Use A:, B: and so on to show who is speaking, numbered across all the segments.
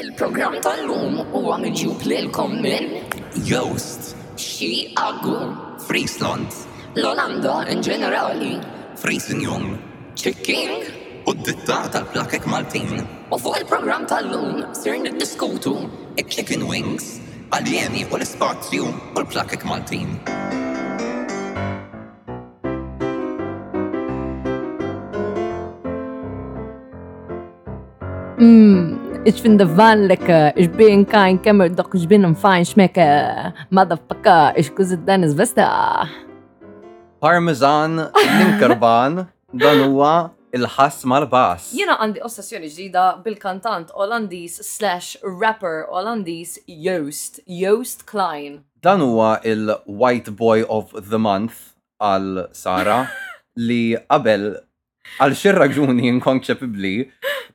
A: Il-program tal-lum huwa miġjub lilkom minn
B: Joost,
A: xi agur
B: Friesland,
A: l-Olanda in ġenerali,
B: Friesinjum,
A: ċikking
B: u d-ditta tal-plakek Maltin,
A: u fuq il-program tal-lum sir niddiskutu
B: il-Chicken Wings, alieni u l-spazju u l-plakek Maltin.
C: Mm, ich finde wann
D: uh,
C: lecker. Ich bin kein Kämmer, doch ich bin ein Feinschmecker. Motherfucker, ich küsse deine Schwester.
D: Parmesan l-inkarban dan huwa il-ħass mal-bass.
C: Jena għandi ossessjoni ġdida bil-kantant Olandis slash rapper Olandis Joost, Joost Klein.
D: Dan huwa il-White Boy of the Month għal Sara li qabel għal xi raġuni inkonċepibli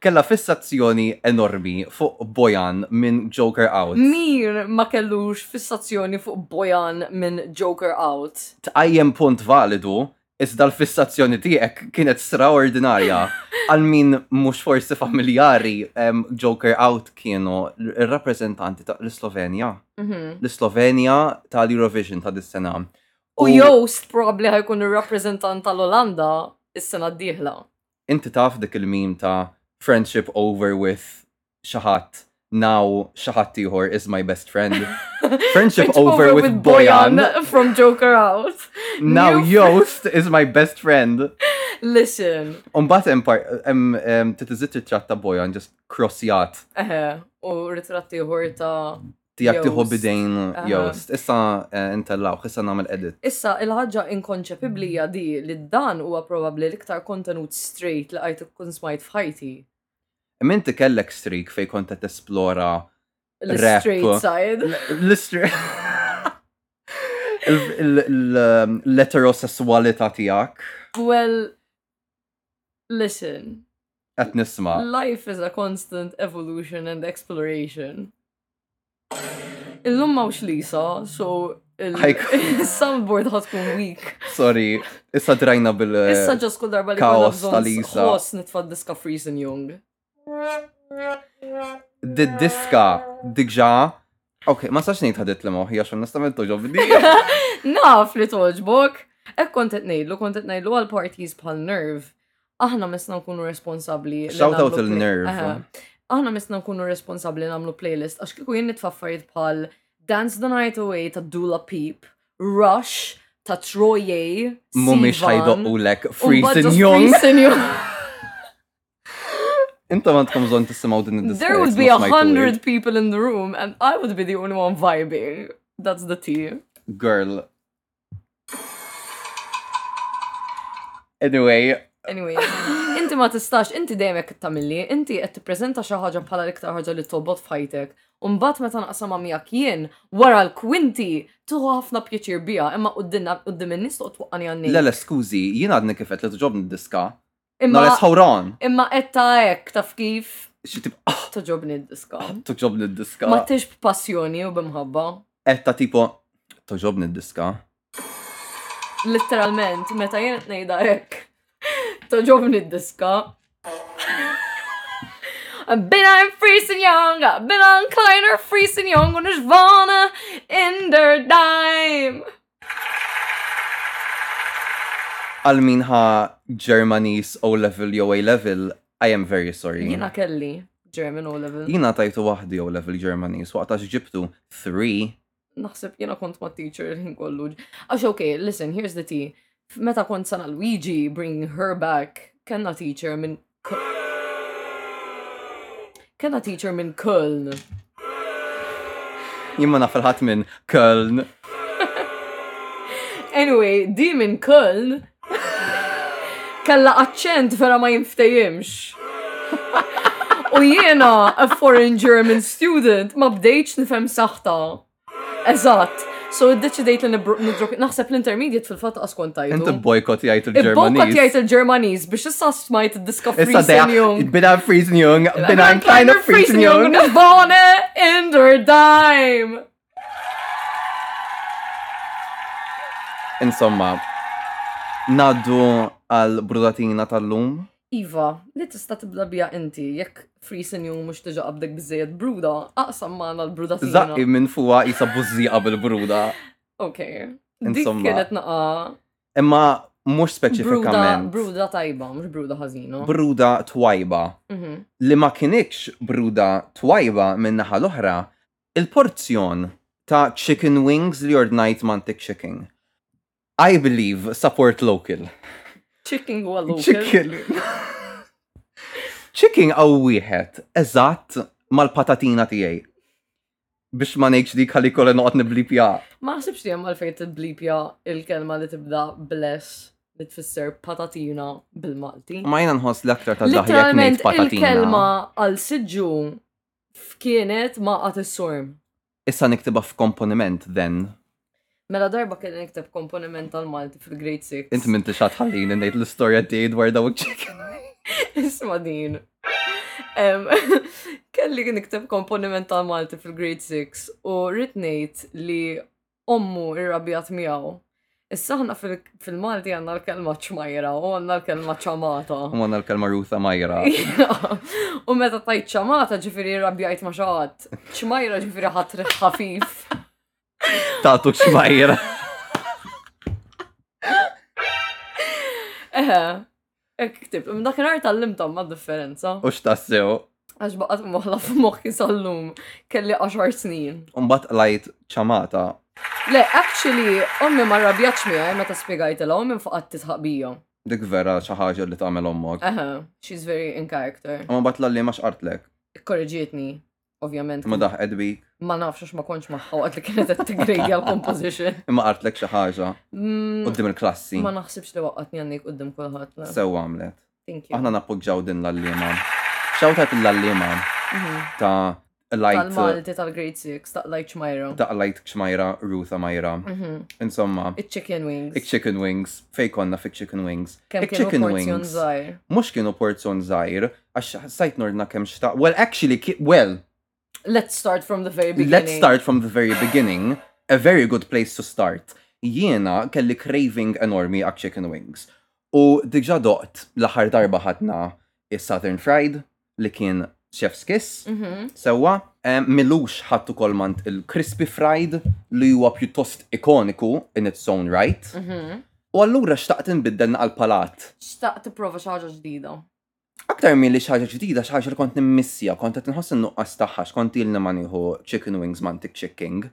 D: kella fissazzjoni enormi fuq Bojan minn Joker Out.
C: Min ma kellux fissazzjoni fuq Bojan minn Joker Out.
D: tqajjem punt validu, iżda l-fissazzjoni tiegħek kienet straordinarja għal min mhux forsi familjari em, Joker Out kienu il-rappreżentanti ta' l-Slovenja. Mhm. L-Slovenja tal-Eurovision ta' dis-sena. Oh.
C: U Joost probabli ħajkun il-rappresentant tal-Olanda is-sena d-dieħla.
D: inti taf dik il-meme ta' friendship over with xaħat now xaħat ieħor is my best friend. Friendship over with Bojan.
C: From Joker Out.
D: Now
C: New-
D: Joost is my best friend.
C: Listen,
D: Umbat empar, em, em, titizitt il-ċat ta' Bojan just crossjat
C: eħe, u ritratti ta'
D: tijak tiħu
C: Joost.
D: bidejn
C: Aha.
D: Joost. Issa eh, intellaw, issa namel edit.
C: Issa, il-ħagġa inkonċepibli hija di li dan huwa probabli l-iktar kontenut straight li għajt kun smajt fħajti.
D: Minti kellek streak fej kont qed esplora Rap.
C: L-straight side.
D: l-streak. L-heterosessualita tijak
C: Well, listen,
D: qed nisma.
C: life is a constant evolution and exploration. Illum mawx Lisa, so
D: Ħajkun.
C: il-soundboard ħat kun weak.
D: Sorry, issa drajna bil.
C: Issa ġas kull darba li kolla
D: Eh, kaos ta'
C: bżon
D: Lisa.
C: ħos nitfad diska Freezing Young.
D: Di diska, diġa. Ok, ma sax nejt ħadit li moħi, għaxan nistamentu ġo vidi.
C: Naf li toġbok. Ek kontet nejlu, kontet nejlu għal parties bħal nerv. Aħna misna nkunu responsabli. li
D: Shout out
C: namlu play-
D: il-Nerve.
C: Aha. Aħna misna nkunu responsabli namlu playlist, għax kiku jien nitfaffariet bħal Dance the Night Away ta' Dula Peep, Rush ta' Troye,
D: Mumiex
C: Sivan,
D: ħajdoqqu lek
C: u mbagħad
D: Freezing
C: just
D: Young.
C: Freezing Young.
D: Inta ma tkun bżon tisimaw din id-diska.
C: There would be a hundred people in the room and I would be the only one vibing. That's the tea.
D: Girl. Anyway,
C: Anyway, inti ma tistax, inti dejjem hekk tagħmilli, inti qed tippreżenta xi ħaġa bħala l-iktar ħaġa li tolbot f'ħajtek. U mbagħad meta naqsama miegħek jien wara l-kwinti tuħu ħafna pjaċir biha, imma quddinna quddiem in-nies toqgħod twaqqani
D: le
C: għanni.
D: le skużi, jien għadni kifet li tġobni d-diska. No, let's
C: Imma
D: hold on.
C: imma qed ta' hekk taf kif
D: Xi tip, ah,
C: toġobni d-diska.
D: tġobni d-diska.
C: Ma tix b'passjoni u b'imħabba.
D: Etta tipo, tġobni d-diska.
C: Literalment, meta jien qed ngħidha hekk. Toġobni d-diska. I've been on freezing young, I've been on Kleiner freezing young, und ich wohne in der dime.
D: Għal minħa Germany's O-level jew A-level, I am very sorry.
C: Jena kelli, German O level.
D: Jina tajtu wahdi jew level Germany's, waqtax ġibtu 3.
C: Naħseb jena kont ma teacher ħin kollu. Għax, okay, listen, here's the tea. Meta kont sana Luigi, bring her back, kena teacher minn Kena teacher minn Köln.
D: Jimma nafalħat minn Köln.
C: Anyway, di minn Köln kella accent vera ma jinftejimx. U jiena, a foreign German student, ma bdejċ nifem saħta. Eżatt. So id-deċidejt li nibru- nidrok, naħseb l-intermediate fil-fatt għaskon
D: Inti
C: tajtu.
D: bojkot jgħid
C: Ibbokka
D: il-Germany's.
C: tijajt il-Ġermaniż biex issa smajt id-diska
D: Issa deħ,
C: Friesen-Jung.
D: bina Friesen Jung, bina Kleiner Friesen Jung.
C: Nisbone in der dime.
D: Insomma, naddu għal brudatina tal-lum.
C: Iva, li tista tibda bija inti, jekk frisin jum mux tiġa qabdek bizzejed bruda, aqsam maħna l-bruda tina.
D: Zaqqi minn fuqa jisa buzziqa bil-bruda.
C: Ok. Dik
D: Insomma.
C: kienet naqa
D: Imma mux
C: bruda,
D: speċifikament.
C: bruda tajba, mux bruda ħazina.
D: Bruda twajba.
C: Mhm.
D: Li ma kienieċ bruda twajba minn naħa l-oħra, il-porzjon ta' chicken wings li ordnajt mantik chicken. I believe support local.
C: Chicken huwa local.
D: Chicken. Chicken għaw wieħed, eżatt mal-patatina tijaj. Biex ma nejċ dik għalli kolle noqt niblipja.
C: Ma ħsibx li hemm għalfejn tibblipja il-kelma li tibda bless li tfisser patatina bil-Malti.
D: Ma jena nħos l-aktar ta' daħi jek
C: Literalment
D: nejt patatina.
C: il-kelma għal siġu f'kienet ma qatt is-sorm.
D: Issa niktiba f'komponiment, then.
C: Mela darba kien nikteb komponiment tal-Malti fil-Grade 6.
D: Inti minn t-xat ħallin nejt l-istoria tijaj dwar dawk chicken.
C: Isma din. Em, kelli nikteb komponiment ta' Malti fil-grade 6 u ritnejt li ommu irrabjat miegħu. Issa ħna fil-Malti għanna l-kelma ċmajra u għanna l-kelma ċamata.
D: Għanna l-kelma Ruth Amajra.
C: U meta tajt ċamata ġifiri irrabjajt ma xaħat. ċmajra ġifiri ħatrif ħafif.
D: Tatu xmajra.
C: Eħe. Ek ktib, mdakinar tal-limta ma differenza.
D: U x'tassew.
C: Għax baqat moħla f'moħħi sal-lum. Kelli 10 snin.
D: Umbat lajt ċamata.
C: Le, actually, ommi ma rabjaċ miħaj, meta spiegajt l minn faqat titħabija.
D: Dik vera xaħġa li tagħmel ommok.
C: Aha, she's very in character.
D: Ma bat l-li ma xqartlek.
C: Korreġietni, ovvjament.
D: Ma daħqed bik.
C: Ma nafx għax ma konċ maħħa għat li kienet qed t-gradi għal-composition.
D: Imma qartlek xi ħaġa
C: Mm,
D: qudiem il-klassi.
C: Ma naħsibx li waqqatni għannik qoddim kulħadd. le.
D: Sew għamlet.
C: Thank
D: Aħna
C: you.
D: nappoġġaw din l-allima. Xawtat l-allima
C: Mhm.
D: ta' light
C: Tal-Malti tal-Grade 6, taqlajċ majra.
D: ta' light xmajra Ruth Amajra.
C: Mhm.
D: Insomma,
C: It-chicken wings.
D: ik-chicken wings, fej konna fik chicken wings.
C: Kem kienu
D: Ik-chicken
C: porzjon
D: wings,
C: zaħir.
D: mux kienu porzjon zaħir, għax sajt nordna kem xta' Well, actually, ki- well,
C: Let's start from the very beginning.
D: Let's start from the very beginning. A very good place to start. Jiena kelli craving enormi għak chicken wings. U diġa doqt l-ħar darba ħadna il-Southern Fried li kien chef's kiss.
C: Mhm.
D: Sewa, em, milux ħattu kolmant il-crispy fried li huwa pjuttost ikoniku in its own right.
C: Mhm.
D: U allura xtaqt nbidden għal-palat.
C: Xtaqt t-prova xaġa ġdida.
D: Aktar milli xaġa ġdida, xaġa li kont nimmissija, kont qed inħoss innuqqas tagħha, kont ilna ma nieħu chicken wings mantik chicken.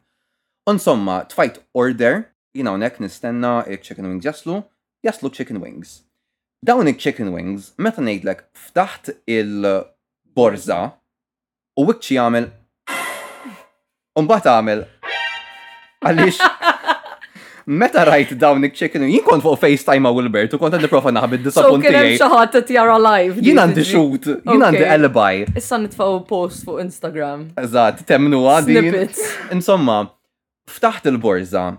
D: Insomma, tfajt order, jina hawnhekk nistenna il-chicken wings jaslu, jaslu chicken wings. Dawn il-chicken wings, meta ngħidlek ftaħt il-borza u wikċi jagħmel Umbat għamel. Għalix, meta rajt dawn il-chicken wings, jien kont fuq FaceTime ma' Wilbert u kont għandi profa naħbid
C: So kien hemm
D: disappuntijaj.
C: xi ħadd qed jara live.
D: Jien
C: dik
D: għandi
C: id-dri-
D: xut, jien għandi
C: Okay.
D: alibi.
C: Issa nitfaw post fuq Instagram.
D: Eżat, temnu għadi.
C: Snippets.
D: Insomma, ftaħt il-borza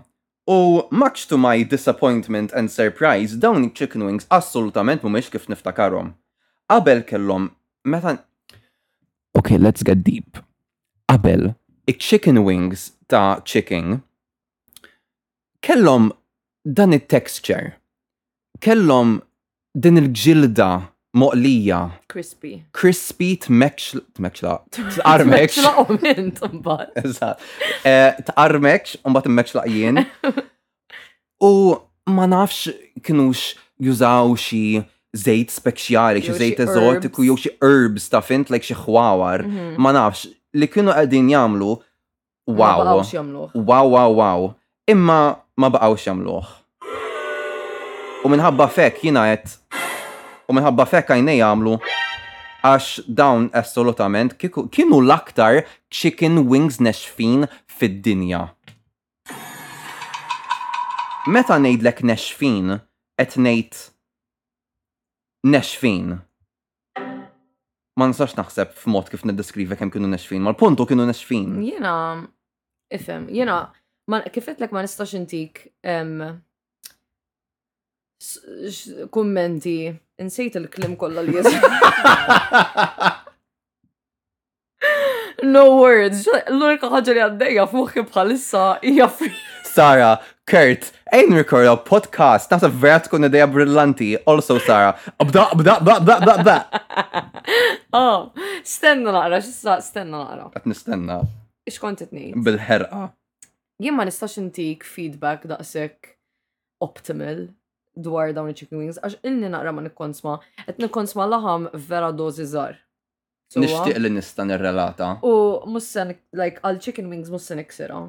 D: u much to my disappointment and surprise, dawn chicken wings assolutament mumiex kif niftakarhom. Qabel kellhom meta Okay, let's get deep. Qabel, il-chicken wings ta' chicken kellhom dan it-texture. Kellhom din il-ġilda moqlija
C: Crispy.
D: crispy tmekxla, tmekxla, tqarmekx.
C: Mekxla u mint, mbagħad.
D: Eżatt. Eh, Tqarmekx, un bat mekxla jien. U ma nafx kienux jużaw xi zejt speċjali, xi
C: Jew
D: zejt
C: xi
D: eżotiku,
C: herbs.
D: jew xi herbs ta' fint, like xi xwawar.
C: Mhm.
D: Ma nafx, li kienu qegħdin jagħmlu
C: Ma
D: wow,
C: baqgħux jagħmluh.
D: wow, wow, wow. Imma ma baqgħux jagħmluh. U minħabba fek jiena qed u minħabba fek għajnej jagħmlu għax dawn assolutament kiku- kienu l-aktar chicken wings nexfin fid-dinja. Meta ngħidlek nexfin, qed ngħid nexfin. Ma nistax naħseb f'mod kif niddeskrivi kemm kienu nexfin, mal-puntu kienu nexfin.
C: Jiena ifhem, jiena ma kif qedlek ma nistax intik em, s- x- kummenti insejt il-klim kollha li jeżi. No words, l-unika ħaġa li għaddejja f'moħħi bħalissa hija free.
D: Sara, Kurt, ejn rikorda podcast, nasa vera tkun ideja brillanti, also Sara. Abda, abda, abda, abda, abda, abda.
C: Oh, stenna naqra, xissa, stenna naqra.
D: Għat nistenna
C: Ixkont itnej.
D: bil-ħerqa.
C: Jien ma nistax intik feedback daqsek optimal dwar dawn il-chicken wings, għax illi naqra ma nikkonsma, et nikkonsma laħam vera dozi zar. Sewa.
D: Nishtiq li nista nirrelata.
C: U mussen, like, għal chicken wings mussen iksira.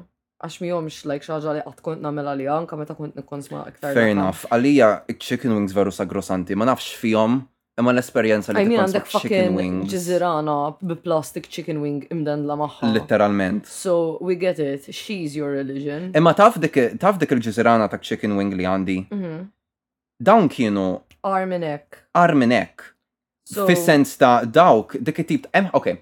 C: Għax mi jomx, like, xaġa li għat kont namela li anka meta kont nikkonsma iktar.
D: Fair
C: laħam.
D: enough, għalija chicken wings veru sagrosanti, ma nafx fihom, imma l-esperienza li
C: I mean,
D: tkun
C: għandek
D: chicken
C: fucking
D: wings.
C: ġizirana bi-plastic chicken wing imden la maħħa.
D: Literalment.
C: So, we get it. She's your religion.
D: Imma taf dik taf dik il-ġizirana ta' chicken wing li għandi.
C: Mhm.
D: Dawn kienu
C: Arm and neck.
D: arminek.
C: So,
D: Fis-sens ta' dawk, dik it-tip ta' em- okay.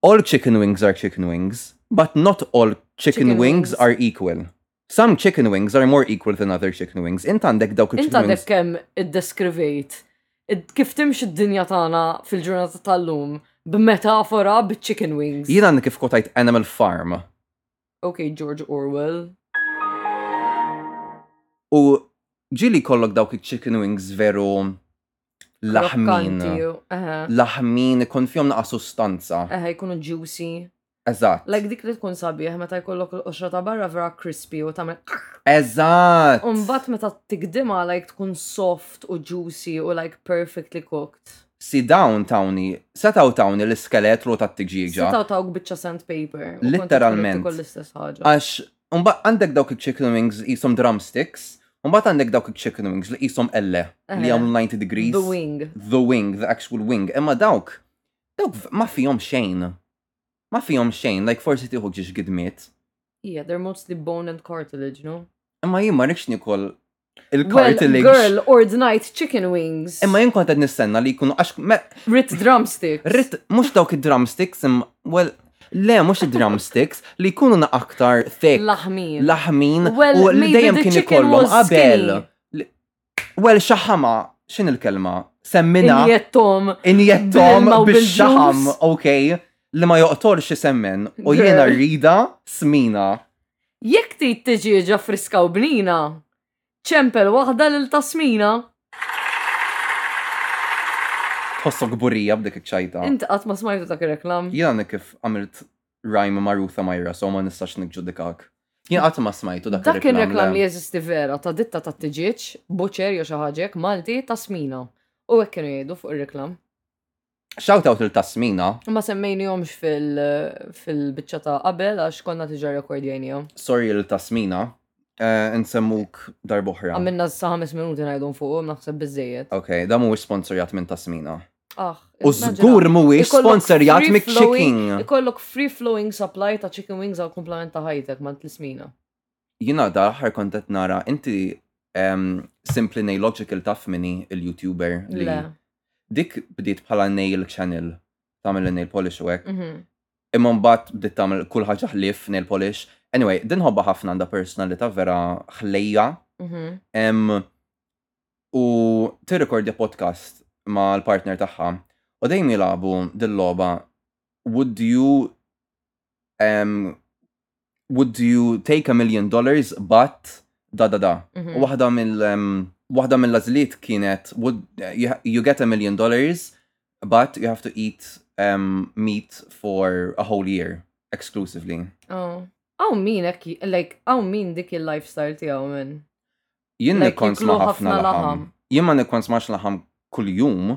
D: All chicken wings are chicken wings, but not all chicken,
C: Chicken
D: wings,
C: wings.
D: are equal. Some chicken wings are more equal than other chicken wings. Int għandek dawk
C: Inta
D: il-chicken
C: għandek
D: wings.
C: kem id-deskrivejt. id- Kif timx id-dinja tagħna fil-ġurnata tal-lum b'metafora bit-chicken wings.
D: Jien għandek kif kotajt Animal Farm.
C: Okay, George Orwell.
D: U ġili kollok dawk il-chicken wings veru laħmin.
C: Krokkanti, eħe,
D: Laħmin, kon fjom naqa sustanza.
C: Eħe, jkunu juicy.
D: Eżat.
C: Eh, Like dik li tkun sabiħ meta jkollok l-qoxra ta' barra vera crispy u tagħmel
D: Eżat.
C: Umbat meta tikdima like tkun soft u juicy u like perfectly cooked.
D: Si dawn tawni, setaw tawni l-iskeletru ta' t-tġiġa.
C: Setaw tawk bitċa sandpaper. u kont
D: Literalment.
C: tkollok l-istess ħaġa.
D: Għax, umbat għandek dawk il-chicken wings jisom drumsticks, umbat għandek dawk il-chicken wings li jisom elle, li
C: Eħe.
D: għamlu 90 degrees.
C: Eh, The wing.
D: The wing, the actual wing. Imma dawk, dawk v- ma fihom xejn. Ma fihom xejn, like forsi tiħu ġiġ gidmiet.
C: Yeah, they're mostly bone and cartilage, no?
D: Imma jien ma nix nikol
C: Well,
D: il-cartilage.
C: girl, ordinate chicken wings.
D: Imma jien kontet nistenna li jkunu għax me-
C: Rit drumsticks.
D: rrit mhux dawk id-drumsticks im well le mhux id-drumsticks li jkunu na aktar thick
C: Laħmin.
D: laħmin
C: Well,
D: u li
C: maybe
D: dejjem
C: the
D: kien
C: chicken
D: ikollhom
C: was
D: qabel.
C: skinny.
D: Li- Well xaħama xin il-kelma semmina
C: Injettom.
D: injettom
C: bil-ilma u
D: bix-xaħam
C: bil-ġus.
D: okej li ma joqtolx semmen u jiena
C: Girl.
D: rrida smina.
C: Jekk trid tiġi ġa friska u bnina, ċempel waħda lil tasmina,
D: Tħossok burija b'dik iċ-ċajta.
C: inti qatt ma smajtu dak ir-reklam.
D: Jiena nek kif għamilt rhyme ma' Rutha Majra, so ma nistax nikġudikak. Jien qatt ma smajtu dak
C: Dak ir-reklam
D: le.
C: li jeżisti vera ta' ditta ta' tiġiġ, boċer jew xi ħaġa hekk, Malti tasmina. U hekk kienu jgħidu fuq ir-reklam.
D: Shout out il-tasmina,
C: Ma semmejnihomx fil fil-biċċa ta' qabel għax konna tiġa rekordjajnihom.
D: sorry il-tasmina, eh, nsemmuk darboħra.
C: Għamilna sa' ħames minuti ngħidhom fuqhom naħseb biżejjed.
D: Ok, da mhuwiex sponsorjat minn tasmina.
C: Ah,
D: Ah. U
C: immaġina.
D: żgur mhuwiex
C: Ikollok
D: sponsorjat
C: free
D: mik
C: flowing-
D: chicken.
C: Ikollok free flowing supply ta' chicken wings għal kumplament ta' ħajtek ma' tlismina.
D: Jina da ħar kontet nara, inti um, simply Nailogical taf minni il-YouTuber li
C: Le.
D: dik bdiet bħala Nail Channel tamil nail polish u hekk.
C: Mhm.
D: Imma mbagħad bdiet tagħmel kull ħaġa ħlief nail polish. Anyway, din ħobba ħafna għandha personalità vera ħlejja.
C: mhm.
D: Em, u tirrekordja podcast ma l-partner tagħha. U dejjem jilagħbu dil-logħba Would you um, Would you take a million dollars but da da da.
C: Mhm.
D: U Waħda mill um, waħda mill-lażliet kienet would you, you get a million dollars but you have to eat um, meat for a whole year exclusively.
C: Oh. Aw min ekki, like, aw min dik il-lifestyle tiegħu minn.
D: Jien
C: Like,
D: nikkons ma
C: jiklu
D: ħafna
C: ħafna
D: laħam.
C: laħam.
D: Jien ma nikkons max laħam kull-jum,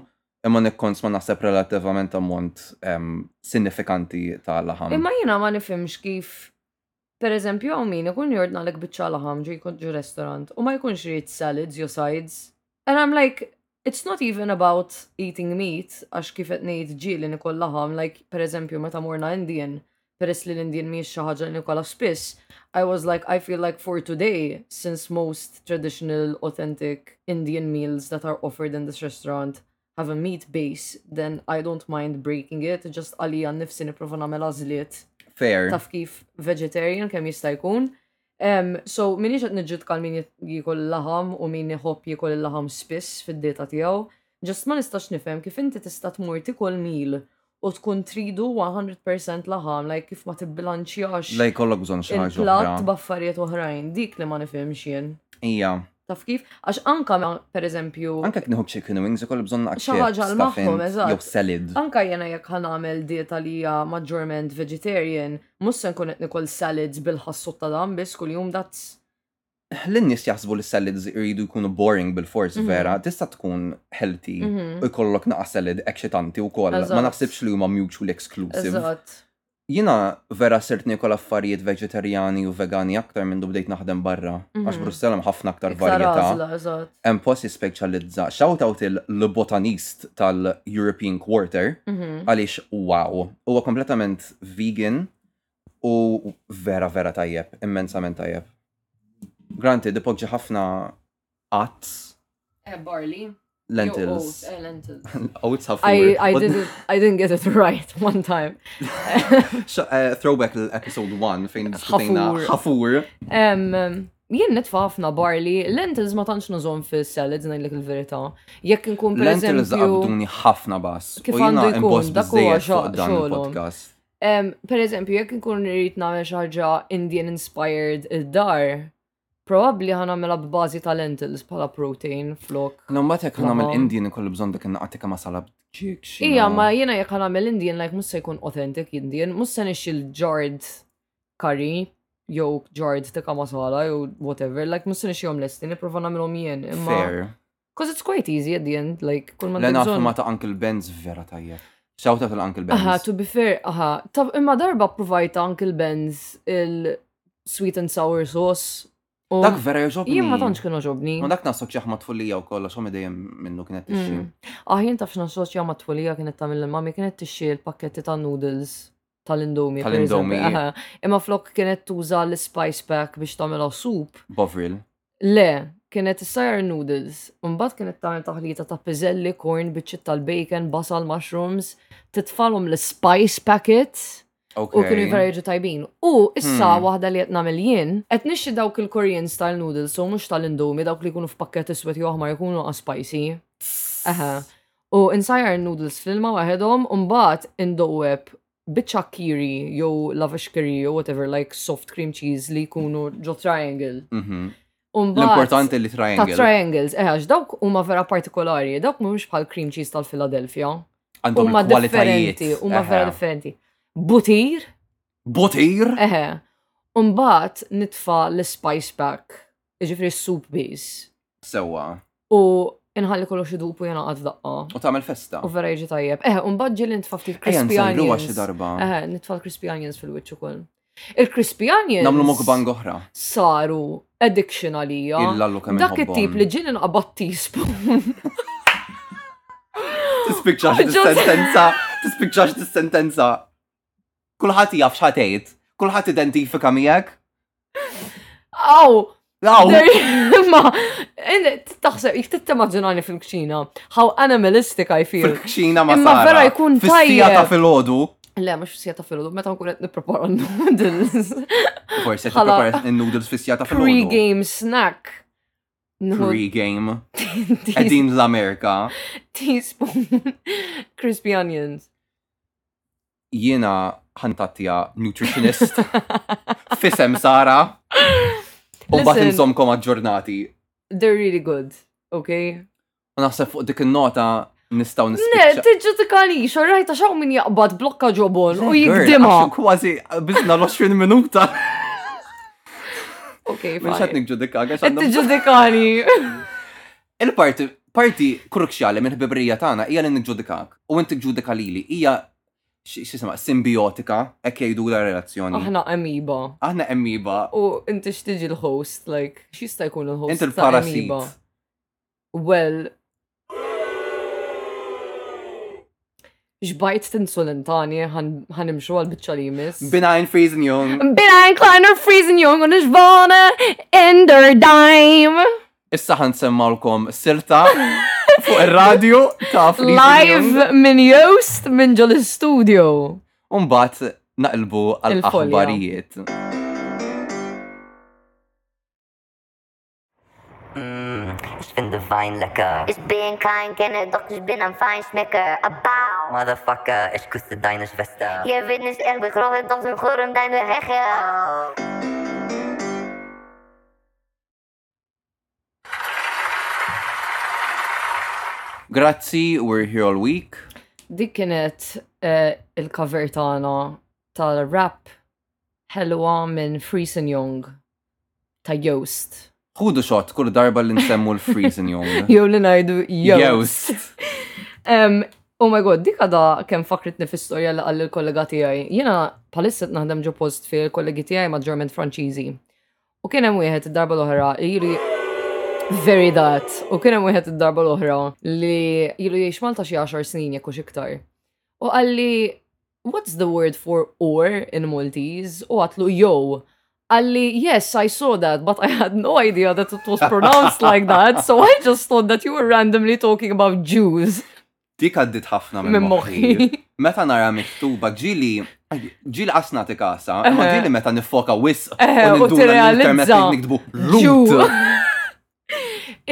D: imma nikkons ma naħseb relativament ammont em, sinifikanti ta' laħam.
C: Imma jiena ma nifhimx kif Per eżempju, għaw min ikun jordna l bitċa laħam ġi jkun ġu restaurant u ma jkunx jrid salads jew sides. And I'm like, it's not even about eating meat, għax kif qed ngħid ġieli nikol laħam, like per eżempju meta morna Indian, peress li l-Indian mhijiex xi ħaġa li nikola spiss, I was like, I feel like for today, since most traditional, authentic Indian meals that are offered in this restaurant have a meat base, then I don't mind breaking it, just għalija nifsi niprofa nagħmel għażliet
D: Fair.
C: taf kif vegetarian kemm jista' jkun. Um, so minni qed niġġidkal min jikol laħam u min jħobb jikol laħam spiss fid-dieta tiegħu. Ġust ma nistax nifhem kif inti tista' tmur tikol mil u tkun tridu 100% laħam, like kif ma tibbilanċjax
D: Lej kollok bżon xaħġa.
C: il-platt
D: oħra.
C: b'affarijiet oħrajn, dik li ma nifhimx jien.
D: Ija.
C: Taf kif? Għax anka ma- per eżempju,
D: Anka kif nħob chicken wings, ikoll bżon
C: Xi ħaġa għal magħhom, eżatt.
D: Jow salad.
C: anka jena jekk ħanamel dieta li hija maġġorment vegetarian, mhux se nkun qed nikol salads bil-ħassut ta' dan biss kuljum that's
D: L-nis jaħsbu li salads jridu jkunu boring bil-fors
C: Mhm.
D: vera, tista' tkun healthy.
C: Mhm.
D: U jkollok naqa salad ekxitanti u koll. Ma
C: Eżatt.
D: naħsibx li huma mutual exclusive.
C: eżatt.
D: Jina vera sirt nikol affarijiet vegetariani u vegani aktar minn bdejt naħdem barra. Għax
C: Mhm.
D: Brussel hemm ħafna aktar
C: Iktar
D: varjetà.
C: għażla, eżatt.
D: Hemm post jispeċjalizza. Shout out il-botanist tal-European Quarter
C: Mhm.
D: għaliex wow. Huwa kompletament vegan u vera vera tajjeb, immensament tajjeb. Granti, dipoġġi ħafna qatt, lentils. Oats ħafna.
C: eh? I, I didn't I didn't get it right one time.
D: Xa- eh, throwback l-episode 1 fejn
C: Ħafur.
D: diskutejna ħafur.
C: Um, jien nitfa' ħafna barley, lentils ma tantx nużhom fis-salads ngħidlek il-verità. Jekk inkun
D: Lentils
C: pereżempju
D: gabduni ħafna bass.
C: Kif
D: U jina
C: għandu jkun,
D: imboss
C: dak huwa
D: biżżejjed fuq
C: xo-
D: dan
C: xogħolhom.
D: il-podcast.
C: um, pereżempju jekk inkun irid nagħmel xi ħaġa Indian inspired id-dar, probabbli ħanamela b'bażi ta' lentils bħala protein flok.
D: No, ma tek għanam
C: Aha.
D: l-Indien ikollu bżon dak n-għatika ma salab ġik. xi
C: Ija,
D: no.
C: ma jiena jekk ħanamel Indian, like mussa jkun authentic Indian, mussa nix il-ġard curry, jew ġard tikka masala, jew whatever, like mussa nix jom lesti, niprofa namilom jien. Imma,
D: Fair.
C: Cause it's quite easy at the end, like, kull ma
D: Lena
C: tibżon-
D: firma ta' Uncle Ben's vera tajjeb. Xawta tal-Uncle
C: Aha,
D: Ben's.
C: to be fair, aha. Tab, imma darba provajta Uncle Ben's il-sweet and sour sauce. u
D: Dak vera joġobni.
C: Jien ma tantx kienu ġobni.
D: Ma dak nasok xaħma tfullija u kolla, xom dejjem minnu kienet ixi.
C: Mm. Aħjien Ah, taf xna soċja ma twilija kienet tamil l-mami kienet tixxi l-pakketti ta' noodles tal-indomi. per
D: Tal-indomi.
C: eżempju, aha. Imma flok kienet tuża l-spice pack biex tamilha soup.
D: Bovril.
C: Le, kienet sajr noodles. Mbagħad kienet tagħmel taħlita ta' piżelli, corn, biċċiet tal-bacon, basal, mushrooms, titfalhom l-spice packet.
D: Ok.
C: U kienu vera jiġu tajbin. U issa
D: Hmm.
C: waħda li qed nagħmel jien, qed nixxi dawk il-Korean style noodles, u mhux tal-indomi, dawk li jkunu f'pakket iswed jew aħmar jkunu għas spicy. Aha. U insajjar noodles fil-ma waħedhom, u mbagħad indoweb biċċa kiri jew lavash kiri jew whatever like soft cream cheese li jkunu ġo triangle.
D: Mhm.
C: U mbagħad-
D: L-importanti li
C: ta'
D: triangle.
C: triangles, eħax dawk huma vera partikolari, dawk mhumiex bħal cream cheese tal-Philadelphia.
D: Għandhom
C: Huma
D: il-kwalitajiet.
C: differenti, huma
D: Eħe.
C: vera differenti. Eh. Butir,
D: Butir?
C: Eħe, umbat nitfa l-spice pack, ġifri soup base,
D: Sewa.
C: u nħalli kollox idup u jena daqqa.
D: U tamel festa.
C: U vera jiġi tajjeb. Eħe, umbat ġilli nitfa ftit
D: Ejja,
C: crispy
D: nsajruwa xi
C: onions.
D: darba.
C: Eħe, nitfa l-crispy onions fil-witch ukoll. Il-crispy onions.
D: Namlu mukbang oħra.
C: Saru addiction għalija.
D: Illa allu kemm
C: Dak
D: inħobbhom.
C: it-tip li ġilli nqabad teaspoon. Ġo-
D: Tispiċċax dis-sentenza. Tispiċċax dis-sentenza. Kulħadd jaf x'ħatejt. Kulħadd identifika miegħek.
C: Aw!
D: Aw,
C: There- Ma, in- taħseb, jek tittimmaġinani fil-kċina, how animalistic I feel.
D: fil-kxina ma'
C: Imma
D: Sara.
C: vera jkun
D: Fis-sija ta'
C: tajjeb.
D: fil-ħodu.
C: Le, mux fissija ta' filodu, meta nkun qed nipprepara noodles.
D: Forsi qed
C: Ħala.
D: prepara noodles fis-sija ta' fil-ħodu.
C: Pre-game snack. Nħu
D: Pre-game.
C: tea-
D: Qegħdin l-Amerika.
C: teaspoon crispy onions.
D: Jiena ħantatja nutritionist. Fisem Sara. U bat
C: Listen.
D: inżomkom aġġornati.
C: They're really good, okay?
D: U naħseb fuq dik in-nota nistgħu
C: Ne,
D: nispiċċa.
C: tiġġu tikani, xorrajta xaw min jaqbad blokka ġobon u
D: Girl,
C: jikdima.
D: għaxu Kważi bizna l-20 minuta.
C: Okay,
D: Minn xat
C: fine.
D: nikġu dikka, għax għandna-
C: Tiġġu tikani.
D: Il-parti, parti kruċjali minn bibrija tagħna hija li nikġudikak u inti ġudika lili hija x'isema simbiotika hekk jgħidu la relazzjoni.
C: Aħna amiba.
D: Aħna emmiba,
C: U inti xtiġi l-host, like, xista jkun l-host?
D: inti
C: ta'
D: l-parasit.
C: Amoeba? Well. ġbajt tinsulentani ħanimxu għal bitċa li jmiss.
D: Benign freezing young.
C: Bina Kleiner Freezing Young u nixbona Ender Dime
D: Issa ħansemmawlkom silta fuq ir-radio ta' freezing young.
C: live minn Joost minn ġol studio
D: U mbagħad naqlbu
C: Il-folja.
D: għal-aħbarijiet.
E: Mm, it's been fucking divine liquor.
F: Ich bin kein Kenner, doch ich bin ein Feinschmecker. Abbau!
E: Motherfucker, ich küsse deine Schwester.
F: Ihr wird nicht eng bekrochen, doch wir hören deine Heche.
D: Grazzi, we're here all week.
C: Dik kienet eh, il-cover tagħna tal-rap ħelwa minn Friesen Young ta' Yoast.
D: Ħudu xot kull darba li nsemmu l-freezing jom.
C: Jew li ngħidu Yoast.
D: Yoast.
C: Em, oh my god, dik għada kem fakritni fi storja li għall il-kollega tijaj. Jena palisset naħdem ġo post fi l-kollegi tijaj ma' German Franċiżi. U kien hemm wieħed id-darba l-oħra li jiri Very that. U kien hemm wieħed id-darba l-oħra li jilu jgħix Malta xi 10 snin jekk hux iktar. U għalli what's the word for or in Maltese? U għatlu yo. Għalli, yes, I saw that, but I had no idea that it was pronounced like that, so I just thought that you were randomly talking about Jews.
D: Dik għaddit ħafna minn
C: Minn
D: moħħi.
C: moħħi.
D: Meta nara miktuba ġili, ġili qasna tikasa, ma
C: Eħe.
D: ġili meta nifoka wis
C: Eħe, u tirrealizza.
D: nikdbu
C: Ġu.
D: root.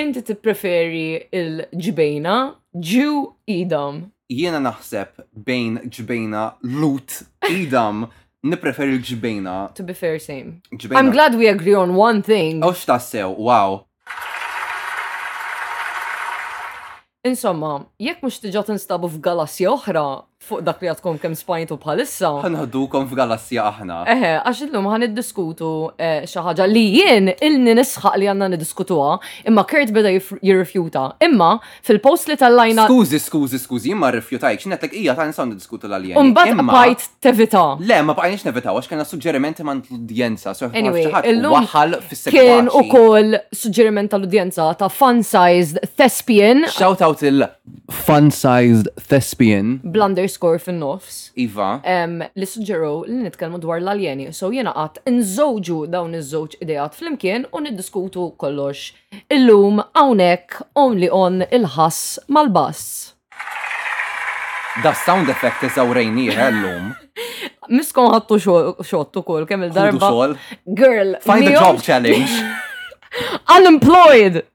C: Inti tippreferi il-ġbejna, ġu idam.
D: Jiena naħseb bejn ġbejna loot idam nipreferi l-ġbejna.
C: To be fair, same.
D: ġbejna.
C: I'm glad we agree on one thing.
D: Għaw xtassew, wow.
C: Insomma, jekk mux tiġa tinstabu f'galassja oħra fuq dak li għatkom kem spajntu bħalissa.
D: Ħanħdukom f'galassja aħna.
C: Eħe, għax illum ħan id-diskutu xaħġa li jien ilni nisħaq li għanna niddiskutuha, imma Kurt beda jif- jirrifjuta. Imma fil-post li tal-lajna
D: Skużi, skużi, skużi, jimma rifjutajk, xnet l-ek ija ta' nisan diskutu l-għaljen.
C: umbat bajt tevita.
D: Le, ma baqajniex nevitaw, għax kena suġġerimenti man l-udjenza, so
C: Anyway, illum
D: waħal
C: Kien u
D: fis-sekwaċi.
C: koll suġġeriment tal-udjenza ta' fun-sized thespian
D: Shout out il fun-sized thespian.
C: bl-underscore fin-nofs.
D: Iva,
C: Em, li suġġeraw li nitkellmu dwar l-aljeni. So jena qatt nżewġu dawn iż-żewġ idejat flimkien u niddiskutu kollox. Illum hawnhekk only on il-ħass mal-bass.
D: da sound effect eżawrejni l-lum.
C: Miskom ħattu xo- xott ukoll kemm
D: Darba.
C: il-darba. Girl,
D: Find a
C: miegħu-
D: job challenge.
C: Unemployed.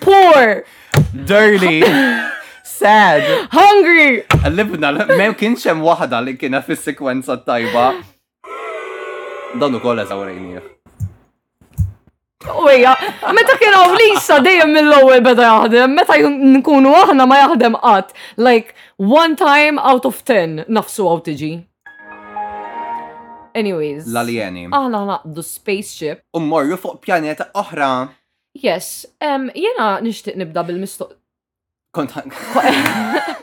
C: Poor,
D: Dirty. Sad.
C: hungry.
D: Libna, ma kienx hemm waħda li kiena fis-sekwenza tajba. Dan ukoll eżawrejni.
C: Uja, Oh, meta kien hawn Lisa dejjem mill-ewwel beda jaħdem, meta jun- nkunu aħna ma jaħdem qatt. Like one time out of ten nafsu għaw tiġi. Anyways.
D: L-alieni.
C: Aħna naqdu spaceship.
D: Ummorru fuq pjaneta oħra.
C: Yes, um, jena nixtieq nibda bil-mistoq.
D: Kont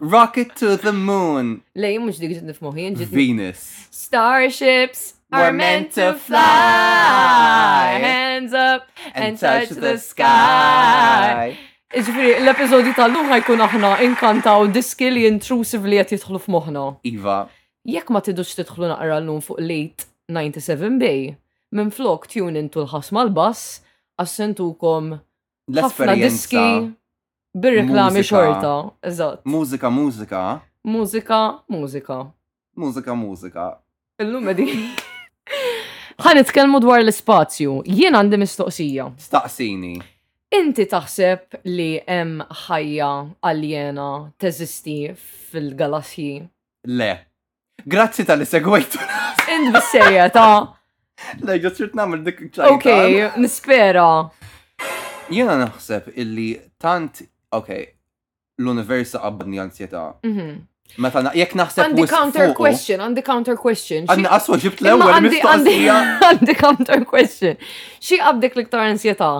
D: Rocket to the moon.
C: Lej, mhux dik ġitni f'moħi, jien ġitni.
D: Venus.
C: Starships
D: Were
C: are meant to
D: fly.
C: fly. Hands up and, touch, the sky. Iġifiri, l-epizodju tal-lum ħajkun aħna inkantaw diski li intrusively qed jidħlu f'moħħna.
D: Iva.
C: Jekk ma tidux tidħlu naqra l-lum fuq late 97 Bay, minn flok tune intu l-ħas mal-bass, assentukom ħafna diski
D: L-esperienza.
C: bir-reklami
D: Mużika.
C: xorta. Eżatt.
D: Mużika, mużika.
C: Mużika, mużika.
D: Mużika, mużika.
C: Illum edi. Ħan itkellmu dwar l-ispazju. Jien għandi mistoqsija.
D: Staqsini.
C: Inti taħseb li hemm ħajja aljena teżisti fil-galassji?
D: Le. Grazzi tal-li segwejtu.
C: Int bissejja ta'
D: Le, ġo sirt namel dik ċajta.
C: ok, nispera.
D: Jena naħseb illi tant, ok, l-universa qabbadni ansjeta.
C: Mhm.
D: Meta na- jekk naħseb
C: Għandi
D: wisq
C: counter
D: fuqu,
C: question, għandi counter question. Xi-
D: Għanna aswa ġibt
C: Imma
D: l-ewel
C: għandi- għandi
D: mistoqsija.
C: għandi counter question. Xi qabdek l-iktar ansjeta?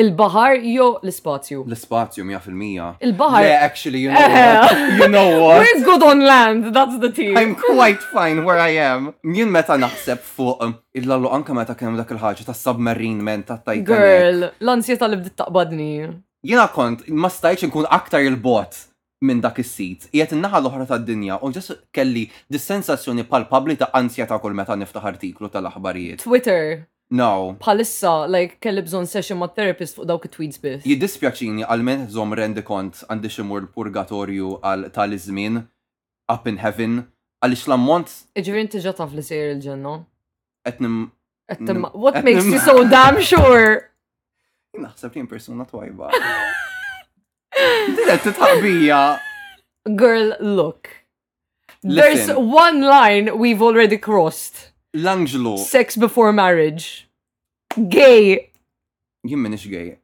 C: Il-bahar jew l-ispazju?
D: L-spazju 100%. Le,
C: Il-bahar.
D: actually, you know what? You know what?
C: We're good on land, that's the thing.
D: I'm quite fine where I am. Jien meta naħseb fuq um, illallu anka meta kien hemm dak il-ħaġa tas submarine men ta' Titanic.
C: Girl, l-ansjeta li bdiet taqbadni.
D: Jiena kont ma stajtx inkun aktar il-bot minn dak is-sit. Qiegħed in-naħa l-oħra tad-dinja u ġas kelli dis-sensazzjoni palpabli ta' ansja ta' kull meta niftaħ artiklu tal-aħbarijiet.
C: Twitter,
D: No.
C: bħalissa, like, kelli bżon session ma' therapist fuq dawk it-tweets biss.
D: Jiddispjaċini għalmen żom rendi kont għandi ximur l-purgatorju għal tal-izmin up in heaven għaliex l-ammont
C: Iġifieri inti ġa taf li sejjer il-ġenna.
D: qed nim
C: Qed timma-
D: Mm.
C: What
D: Qed
C: makes you
D: nimma-
C: so damn sure?
D: naħseb li jien persuna twajba. Dilet titħabija.
C: Girl, look. There's
D: Listen.
C: one line we've already crossed.
D: L-Angelo,
C: Sex before marriage. Gay.
D: jien minix gej.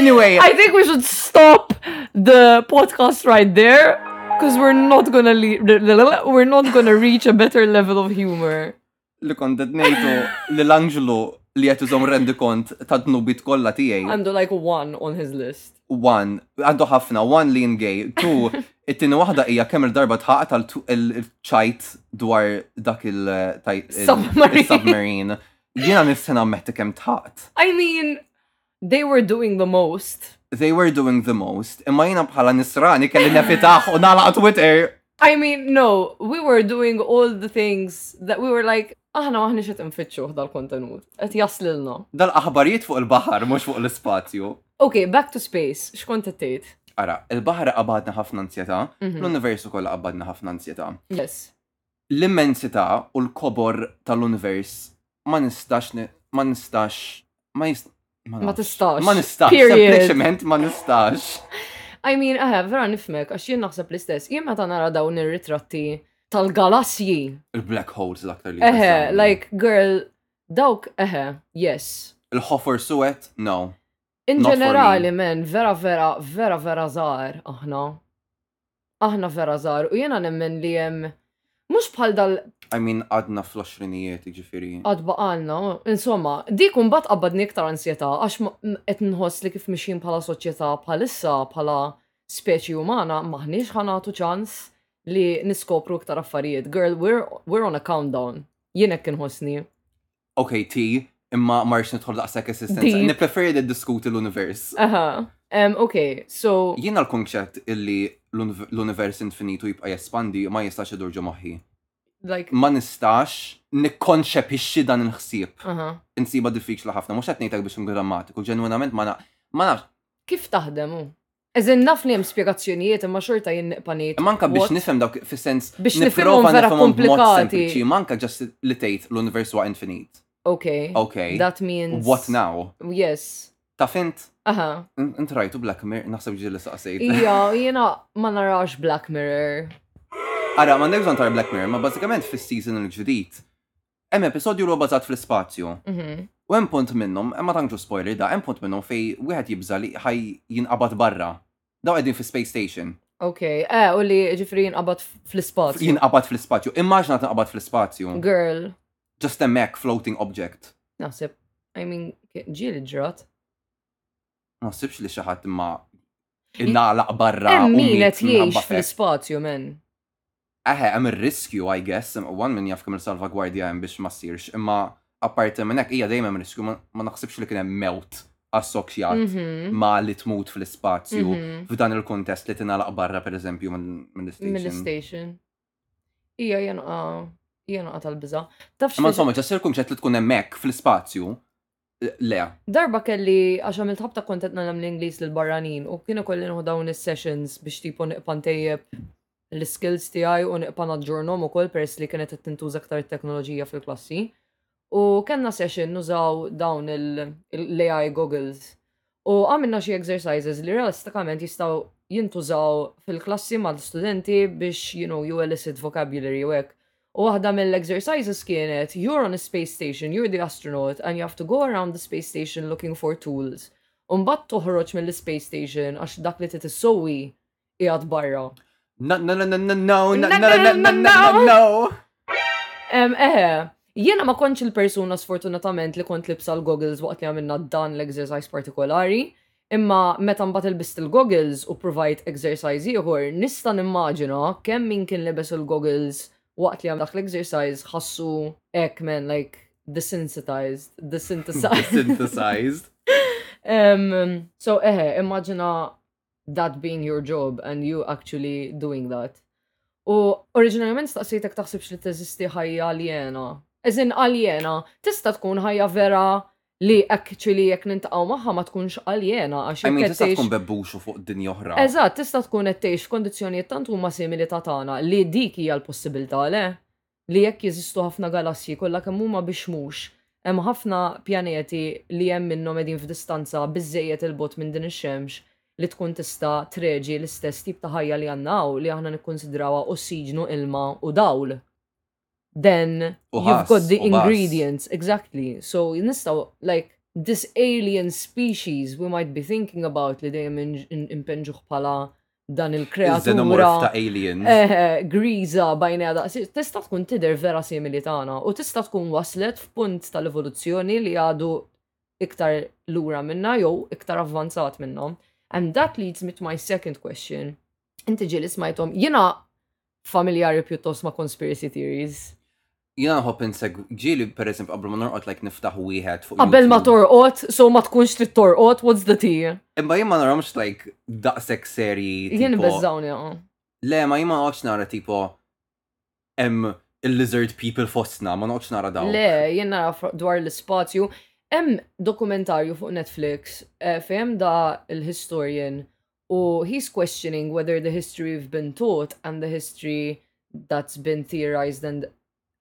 D: Anyway,
C: I think we should stop the podcast right there because we're not gonna le- we're not gonna reach a better level of humor.
D: li kont detnejtu li l-Angelo li qed iżom rendi kont ta' dnubit kollha tiegħi.
C: And like one on his list.
D: One, għandu ħafna, one lean gay, two, it-tini wahda hija kemm il-darba tħaqat tal il-ċajt dwar dak
C: Submarine.
D: il-submarine. Jiena nistena metti kemm tħaqt.
C: I mean, they were doing the most.
D: They were doing the most, imma jiena bħala nisrani kelli nefitaħ u nalaq Twitter.
C: I mean, no, we were doing all the things that we were like, "Ah, aħna maħni xet nfittxu dal-kontenut. Et jaslilna.
D: Dal-aħbarijiet fuq il-bahar, mux fuq l-spazju.
C: Okay, back to space. Xkont tgħid?
D: Ara, il-bahar qabadna ħafna ansjeta, l-universu kollha qabadna ħafna ansjeta.
C: Yes.
D: l-immensità u l-kobor tal-univers ma nistax ni- ma nistax ma jist ma,
C: Ma
D: nafx.
C: tistax.
D: ma nistax
C: Period.
D: sempliċement ma nistax
C: I mean, aha, vera nifmek, għax jien naħseb l-istess. Jien meta nara dawn ir-ritratti tal-galassji.
D: il-black holes l-aktar li
C: Eħe,
D: jibżawni.
C: like, girl, dawk, eħe, yes.
D: il-ħofor suwet no
C: In
D: Not for me.
C: ġenerali, men, vera, vera, vera, vera zaħar, aħna. Aħna vera zaħar. U jiena nemmen li jem, mux bħal dal
D: I mean għadna jiġifieri. fl-20 ġifiri
C: għadba għalna, insomma, dik un bat qabbadni iktar ansjeta, għax ma- m- qed nħoss li kif mixin bħala soċjetà bħalissa bħala speċi umana maħniex ħanatu ċans li niskopru iktar affarijiet. Girl, we're, we're on a countdown. Jien hekk inħossni.
D: ok ti imma marx nidħol daqsek assistenza
C: Deep.
D: nipreferi li diskuti l-univers
C: Aha. Um, ok, so,
D: jiena l-konċett illi l-univ- l-univers infinitu jibqa jespandi ma jistax idurġu moħħi
C: like,
D: ma nistax nikkonċepixxi dan il-ħsieb
C: aha.
D: insiba diffiċli ħafna, mux għatnejtak biex grammatiku, ġenwinament ma naf, ma naf,
C: Kif taħdem? hu? Eżin naf li hemm spjegazzjonijiet imma xorta jien niqpaniet.
D: manka biex
C: What?
D: nifhem dawk fis-sens
C: Biex nifhimhom
D: nipprova
C: vera
D: nifhemhom b'mod
C: komplikati.
D: sempliċi, manka ġast li tgħid l-univers huwa infinit.
C: Okay.
D: Okay.
C: That means.
D: What now?
C: Yes.
D: Ta' fint,
C: Aha.
D: In- int rajtu Black Mirror, naħseb ġieli saqsejt.
C: Ija, jiena ma narax Black Mirror.
D: Ara, ma ndegżon tar Black Mirror, ma bażikament fis-season il-ġdid. Hemm episodju li huwa bażat fl-ispazju.
C: Mhm.
D: U hemm punt minnhom, hemm ma tantxu spoiler da, hemm punt minnhom fej wieħed jibża li ħaj jinqabad barra. Daw qegħdin fi Space Station.
C: Okay, eh, u li ġifri jinqabad fl-ispazju.
D: Jinqabad fl-ispazju. Immaġna tinqabad fl-ispazju.
C: Girl,
D: just a mech floating object.
C: naħseb, I mean, ke- ġieli ġrat.
D: Ma sibx li xaħat imma innaqlaq barra.
C: Hemm
D: u
C: min
D: miet
C: qed jgħix
D: minħabba fek.
C: fl-ispazju men.
D: Eħe, hemm ir-riskju, I guess, one min jaf kemm il-salvagwardja hemm biex ma ssirx, imma apparti minn hekk hija dejjem hemm riskju ma ma naħsibx li kien hemm mewt assoċjat
C: Mhm.
D: ma li tmut fl-ispazju
C: Mhm.
D: f'dan il-kontest li tingħalaq barra pereżempju minn mill-istation.
C: Mill-station. Ija jenqa, jenqa tal-biza. Tafx
D: Imma
C: li-
D: insomma, ġa sirkum ċet li tkun hemmhekk fl-ispazju. Le,
C: Darba kelli għax għamilt ħabta kontent nagħmel l-Ingliż lil barranin u kienu kolli nħu dawn is-sessions biex tipo niqpan tejjeb l-skills tiegħi u niqpan aġġornhom ukoll peress li kienet qed tintuża aktar it-teknoloġija fil-klassi. U kellna session nużaw dawn il- l-AI goggles. U għamilna xi exercises li realistikament jistgħu jintużaw fil-klassi mal-studenti biex, you know, you elicit vocabulary u hekk. U waħda mill-exercises kienet, you're on a space station, you're the astronaut, and you have to go around the space station looking for tools. Umbat toħroġ mill-space station għax dak li titissowi qiegħed barra.
D: no, no, no, no, no, no, no,
C: No,
D: no, no, no, no, no.
C: Em, eħe, jiena ma konċ il-persuna sfortunatament li kont libsa l-goggles waqt li għamilna dan l-exercise partikolari, imma meta mbagħad ilbist il-goggles u provajt exercise ieħor, nista' nimmaġina kemm min kien libes il-goggles waqt li għam dak l-exercise ħassu ek man like desensitized, desensitized.
D: Synthesized.
C: um, so eħe, immaġina that being your job and you actually doing that. U oriġinarjament staqsejtek taħsibx li teżisti ħajja aljena. Eżin aljena, tista tkun ħajja vera li actually jekk nintaqgħu magħha ma tkunx aljena għax
D: I mean,
C: jekk
D: tista'
C: qed
D: tkun
C: tgħix-
D: bebbuxu fuq dinja oħra.
C: Eżatt, tista tkun qed tgħix f'kondizzjonijiet tant huma simili ta' tagħna li dik hija l-possibilità le. li jekk jeżistu ħafna galassi kollha kemm huma biex mhux, hemm ħafna pjaneti li hemm minnhom qegħdin f'distanza biżejjed il-bot minn din ix-xemx li tkun tista' treġi l-istess tip ta' ħajja li għandna hawn li aħna nikkonsidrawha ossiġnu, ilma u dawl. Then
D: U
C: you've
D: ħass,
C: got the
D: u bass.
C: ingredients, exactly. So nistaw, like, this alien species we might be thinking about li dejjem in- in- impenġuħ bħala dan il-kreatura.
D: Xenomorf ta' aliens.
C: Eh, griża bajnija da. Tista tkun tider vera simili tagħna u tista tkun waslet f'punt tal-evoluzzjoni li għadu iktar lura minna jew iktar avvanzat minna. And that leads me to my second question. Inti ġieli smajtom, jiena familjari pjuttost ma' conspiracy theories.
D: Jina nħobb inseg ġili per eżempju qabel ma norqod like niftaħ wieħed fuq.
C: Qabel ma
D: YouTube.
C: torqot, so ma tkunx trid torqot, what's the tea?
D: Imma jien ma naramx like daqshekk seri.
C: Jien
D: tipo-
C: beżżawni ah.
D: Le, ma jien ma noqgħodx nara tipo hemm il-lizard people fostna, ma noqgħodx nara daw.
C: Le, jien nara fr- dwar l-spazju. Hemm dokumentarju fuq Netflix eh, fejn da l-historian u he's questioning whether the history we've been taught and the history that's been theorized and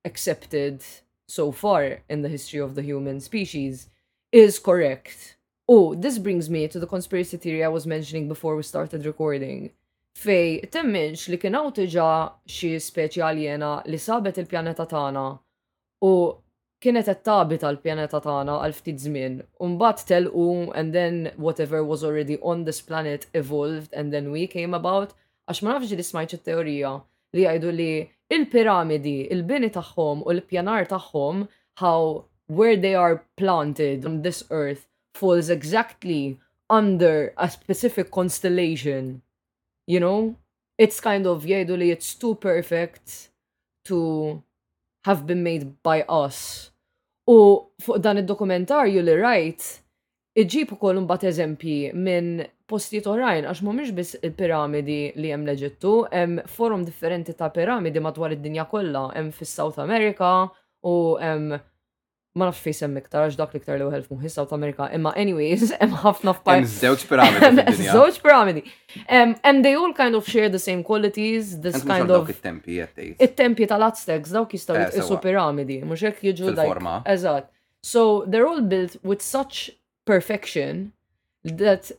C: accepted so far in the history of the human species is correct. Oh, this brings me to the conspiracy theory I was mentioning before we started recording. Fej, temminx li kien hawn diġà xi speċi aljena li sabet il-pjaneta tagħna u kienet qed tabita l-pjaneta tagħna għal ftit żmien. U mbagħad telqu and then whatever was already on this planet evolved and then we came about għax ma nafx li smajt it-teorija li jgħidu li il-piramidi, il-bini tagħhom u l-pjanar tagħhom how where they are planted on this earth falls exactly under a specific constellation. You know? It's kind of jgħidu li it's too perfect to have been made by us. U fuq dan id-dokumentarju li rajt, iġib ukoll imbagħad eżempji minn postijiet oħrajn għax mhumiex biss il-piramidi li hemm leġittu, hemm forum differenti ta' piramidi madwar id-dinja kollha, hemm fis-South America u hemm ma nafx fejn hemm iktar għax dak l-iktar li wieħed f'muħi South America, imma anyways, hemm ħafna
D: Hemm
C: f'pajjiż.
D: żewġ piramidi
C: Um,
D: fid-dinja.
C: Żewġ piramidi. Um, and they all kind of share the same qualities, this
D: Hemm
C: kind
D: dawk
C: of
D: it-tempi qed tgħid.
C: it-tempi tal-Aztecs dawk jistgħu
D: Eh,
C: jitqisu
D: sewa.
C: piramidi, mhux hekk jiġu like-
D: Fil-forma.
C: Eżatt. So they're all built with such perfection that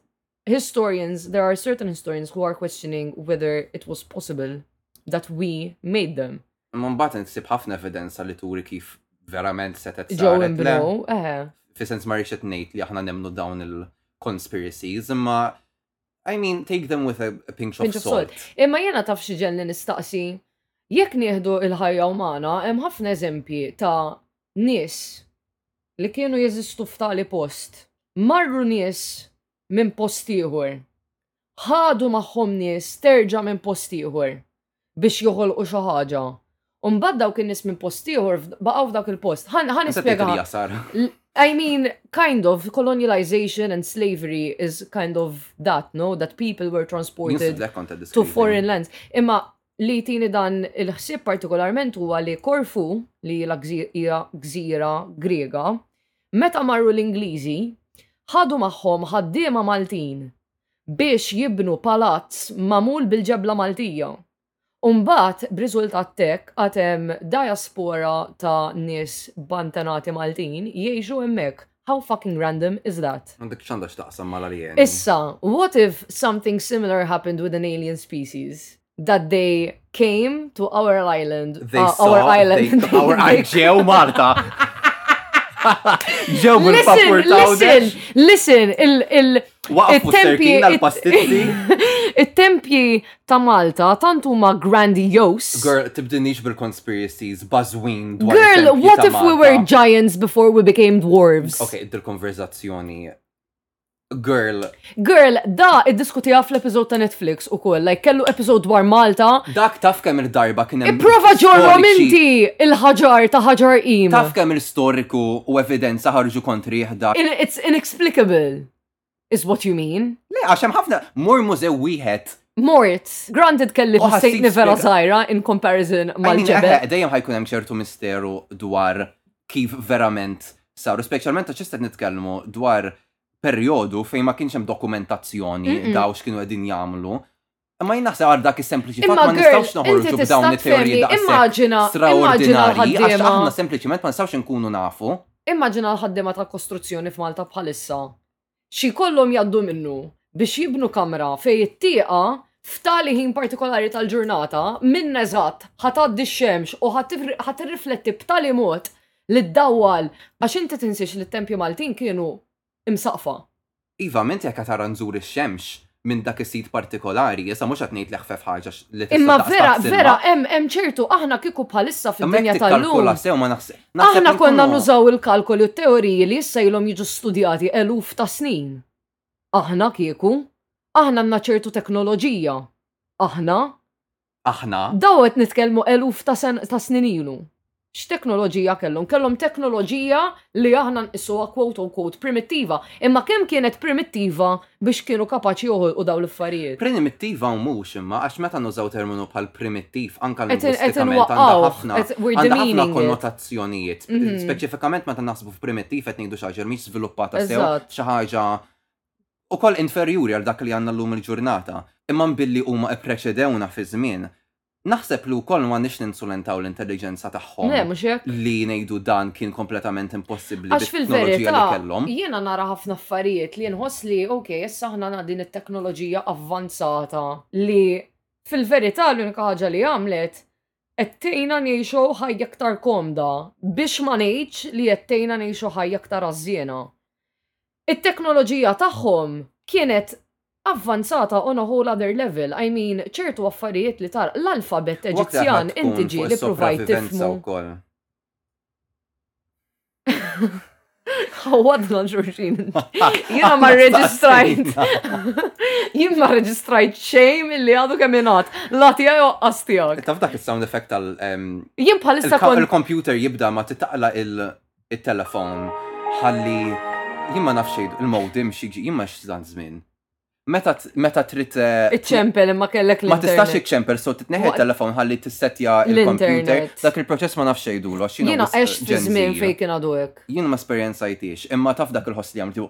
C: historians, there are certain historians who are questioning whether it was possible that we made them.
D: Imma mbagħad insib ħafna evidenza li turi kif verament setet
C: Joe and
D: saret. Le,
C: Bro, eh,
D: Fi sens ma rixet ngħid li aħna nemnu dawn il-conspiracies, imma I mean, take them with a a pinch of
C: pinch of salt.
D: salt.
C: Imma jena taf ġelni nistaqsi, jekk nieħdu il-ħajja umana, hemm ħafna eżempji ta' nies li kienu jeżistu f'tali post. Marru nies minn post ieħor. Ħadu magħhom nies terġa' minn post ieħor biex joħolqu xi ħaġa. Umbagħad dawk in-nies minn post ieħor f- baqgħu f'dak il-post. Ħan ħan
D: Nista' tgħid
C: nispjega.
D: li jasar.
C: L- I mean, kind of, colonialization and slavery is kind of that, no? That people were
D: Jinsa
C: transported
D: dak konta
C: to
D: diskrivi.
C: foreign lands. Imma li tini dan il-ħsib partikolarment huwa li Korfu, li la gżi- hija gżira Grega, meta marru l-Ingliżi, ħadu magħhom ħaddiema Maltin biex jibnu palazz mamul bil-ġebla Maltija. Umbat, b'riżultat tek, għatem diaspora ta' nis bantanati Maltin jiexu emmek. How fucking random is that?
D: Għandek x'għandha x'taqsam mal-alien.
C: Issa, what if something similar happened with an alien species? That they came to our island.
D: They
C: uh,
D: saw
C: our island.
D: They, our E
C: They-
D: island. Ġew Marta. Ġew
C: Listen,
D: bil-password
C: listen, listen, il- il-
D: Waqfu
C: il-tempji-
D: s-serkin
C: it-
D: għal-pastizzi.
C: Il-tempji ta' Malta tant huma grandiose.
D: Girl, tibdinix bil-conspiracies, bazwin dwar
C: Girl,
D: it-tempji
C: what
D: ta'
C: if we
D: Malta.
C: were giants before we became dwarves?
D: Ok, dil-konverzazzjoni. Girl,
C: Girl, da id-diskutija fl-episod ta' Netflix u koll, like kellu episod dwar Malta.
D: dak taf kemm il-darba kien hemm
C: Iprova ġorrom
D: storiċi-
C: inti il-ħaġar ta' ħaġar im.
D: Taf kemm il-storiku u evidenza ħarġu kontri jihda.
C: In, it's inexplicable, is what you mean.
D: Le, għax hemm ħafna mor mużew wieħed.
C: Mort, granted kelli
D: Oh, ħassik
C: sejtni vera
D: spiega.
C: zaħira in comparison
D: I mean, eħe,
C: mal-ġebel.
D: Dejjem ħajkun hemm ċertu misteru dwar kif verament saru, speċjalment għax tista' nitkellmu dwar perjodu fejn ma kienx hemm dokumentazzjoni daw x'kienu qegħdin jagħmlu. Ma jien naħseb għal dak is-sempliċi fatt
C: Imma,
D: ma nistgħux
C: girl, inti
D: noħorġu b'dawn
C: tista'
D: it-teoriji
C: tfemmi, immaġina-
D: daqshekk
C: immaġina
D: straordinarji għax
C: l-ħaddiema.
D: aħna sempliċiment ma nistgħux inkunu nafu.
C: Immaġina l-ħaddima ta' kostruzzjoni f'Malta bħalissa. Xi kollhom jaddu minnu biex jibnu kamra fej it-tieqa f'tali ħin partikolari tal-ġurnata minn eżatt ħataddi x-xemx u ħatifri- ħatirrifletti b'tali mod li d-dawwal għax inti tinsiex li t-tempju Maltin kienu imsaqfa.
D: Iva, menti jekk tara nżur ix-xemx minn dak is-sit partikolari, issa mhux qed ngħid leħfef ħaġa x- li tista'
C: Imma
D: taqsam
C: vera,
D: silma.
C: vera, hemm hemm ċertu aħna kieku bħalissa
D: Imma jekk
C: fid-dinja
D: tikkalkula
C: tal-lum.
D: sew ma naħseb. naħseb
C: Aħna
D: inkunu-
C: konna nużaw il-kalkoli u teoriji li issa ilhom jiġu studjati eluf ta' snin. Aħna kieku, aħna għandna ċertu teknoloġija. Aħna,
D: Aħna.
C: daw qed nitkellmu eluf ta', sen, ta' snin ilu. X'teknoloġija kellhom? Kellhom teknoloġija li aħna nqisuha quote unquote primittiva, imma kemm kienet primittiva biex kienu kapaċi joħolqu daw l-affarijiet.
D: Primitiva u mux imma, għax meta nużaw terminu bħal primittiv, anka
C: Et- et
D: l-istikament għanda
C: nwaqgħu,
D: ħafna
C: et we're
D: għanda ħafna
C: demeaning it.
D: konnotazzjonijiet.
C: Mhm.
D: Speċifikament meta naħsbu f'primittiv qed ngħidu xi ħaġa mhix żviluppata sew
C: Eżatt.
D: xi ħaġa ukoll inferjuri għal dak li għandna llum il-ġurnata, imma billi huma ippreċedewna fi żmien. Naħseb li wkoll ma nix ninsulentaw l-intelligenza
C: Ne,
D: tagħhom
C: mhux hekk.
D: li ngħidu dan kien kompletament impossibbli
C: Għax
D: bit-teknoloġija li
C: fil-verità,
D: kellhom.
C: jiena nara ħafna affarijiet li nħoss li, ok, issa ħna għandna din it-teknoloġija avvanzata li fil-verità l-unika ħaġa li għamlet ettejna nejxu ħaj jaktar komda biex ma ngħidx li ettejna nejxu ħaj jaktar għażjena. It-teknoloġija tagħhom kienet avvanzata on a whole other level. I mean, ċertu affarijiet li tar l-alfabet
D: Waqt li aħna
C: Eġizzjan
D: tkun
C: inti ġi
D: fuq
C: li provajt
D: is-sopravivenza
C: tifmu.
D: wkoll.
C: Għawadna ġurxin. Jena ma reġistrajt. Jien ma reġistrajt xejn li għadu keminat. Latija jo għastijak.
D: Taf dak il-sound effect tal em,
C: Jien bħalissa
D: il-ka-
C: kon.
D: il-computer jibda ma titaqla il- il-telefon ħalli jimma nafxej il-modem xiġi jimma x'dan żmien. Meta t- meta trid eh,
C: Iċċempel imma kellek
D: ma tistax
C: l-internet.
D: ikċemper, so titneħi
C: Waqt-
D: il-telefon ħalli tissetja il-computer,
C: L-internet.
D: dak il-proċess ma nafxej dulu għax jiena
C: Jena
D: wisq
C: għex fi
D: Gen Z.
C: żmien fejn kien għadu hekk.
D: Jien ma esperjenzajtiex, imma taf dak il-ħoss li għamlu.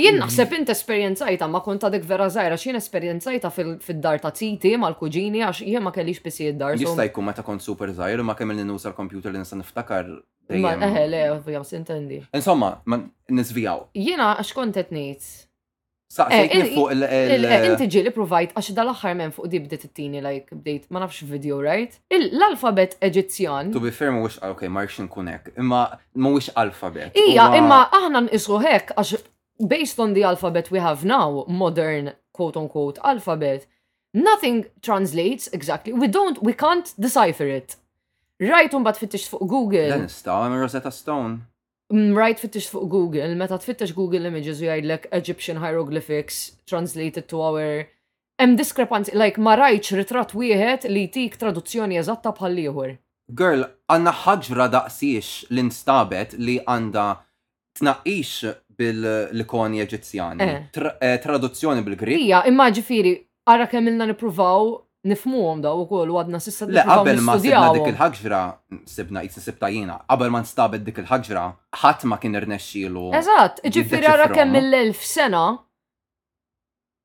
C: Jien naħseb int esperjenzajta ma kont għadek vera zaħira x'jien esperjenzajta fil- fid-dar ta' titi mal-kuġini għax jien ma kellix bisi id-dar. so-
D: Jista' jkun meta kont super żgħir, imma kemm li nuża l-computer li nista' niftakar.
C: Ma
D: dejjem.
C: eħe, le, ovvijam, sintendi.
D: Insomma, ma nizvijaw.
C: Jiena għax kont qed ngħid.
D: Saqsejtni
C: Eh,
D: fuq il-
C: Il- eh, Inti
D: il-
C: ġi li provajt, għax dal-axħar men fuq di bdiet it-tini, like, bdejt, ma nafx video, right? Il- L-alfabet eġizzjan.
D: To be fair, ma wix, ok, marx nkunek, imma ma wix alfabet.
C: Ija,
D: Huwa-
C: imma aħna nqisu hekk, għax based on the alphabet we have now, modern, quote unquote, alphabet, nothing translates exactly. We don't, we can't decipher it. Right, un bat fittix fuq
D: Dan
C: Google.
D: nistaw, għem Rosetta Stone.
C: Mm, Right, fittix fuq Google. Meta tfittex Google images u jgħidlek Egyptian hieroglyphics translated to our Em discrepancy, like ma rajċ ritratt wieħed li jtik traduzzjoni eżatta bħal ieħor.
D: Girl, għanna ħagġra daqsiex l-instabet li għanda tnaqix bil-ikoni
C: Eh.
D: eġizzjani. Tra- eh, Traduzzjoni bil-Grik.
C: Ija, imma ġifiri, għara kemm ilna nippruvaw nifmuhom daw ukoll u għadna sissa
D: Le,
C: nippruvaw
D: qabel ma sibna
C: nistudjawhom.
D: dik il-ħagġra, sibna jitsi sibta jina, qabel ma nstabet dik il-ħagġra, ħadd ma kien irnexxielu.
C: Eżatt, ġifiri għara
D: jiddeċifrawha.
C: kemm mill-elf sena,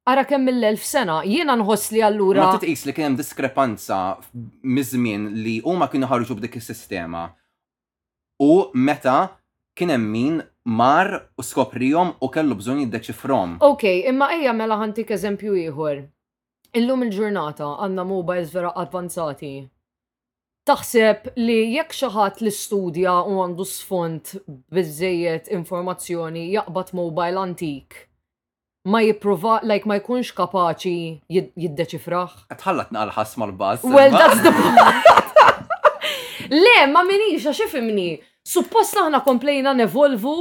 C: għara kemm mill-elf sena, jiena nħoss li allura.
D: Ma titqis li kien hemm diskrepanza f- miż-żmien li huma kienu ħarġu b'dik is-sistema. U meta kien hemm min mar u skoprihom u kellu bżonn jiddeċifrom.
C: Ok, imma ejja mela ħantik eżempju ieħor. Illum il-ġurnata għandna mobiles vera avvanzati. Taħseb li jekk xi ħadd li studja u għandu sfond biżejjed informazzjoni jaqbad mobile antik. Ma jipprova, like ma jkunx kapaċi jid- jiddeċifraħ.
D: Tħallat naqal ħass mal-bass.
C: Well,
D: imma-
C: that's the point. Le, ma minix, għax ifimni. Suppost aħna komplejna nevolvu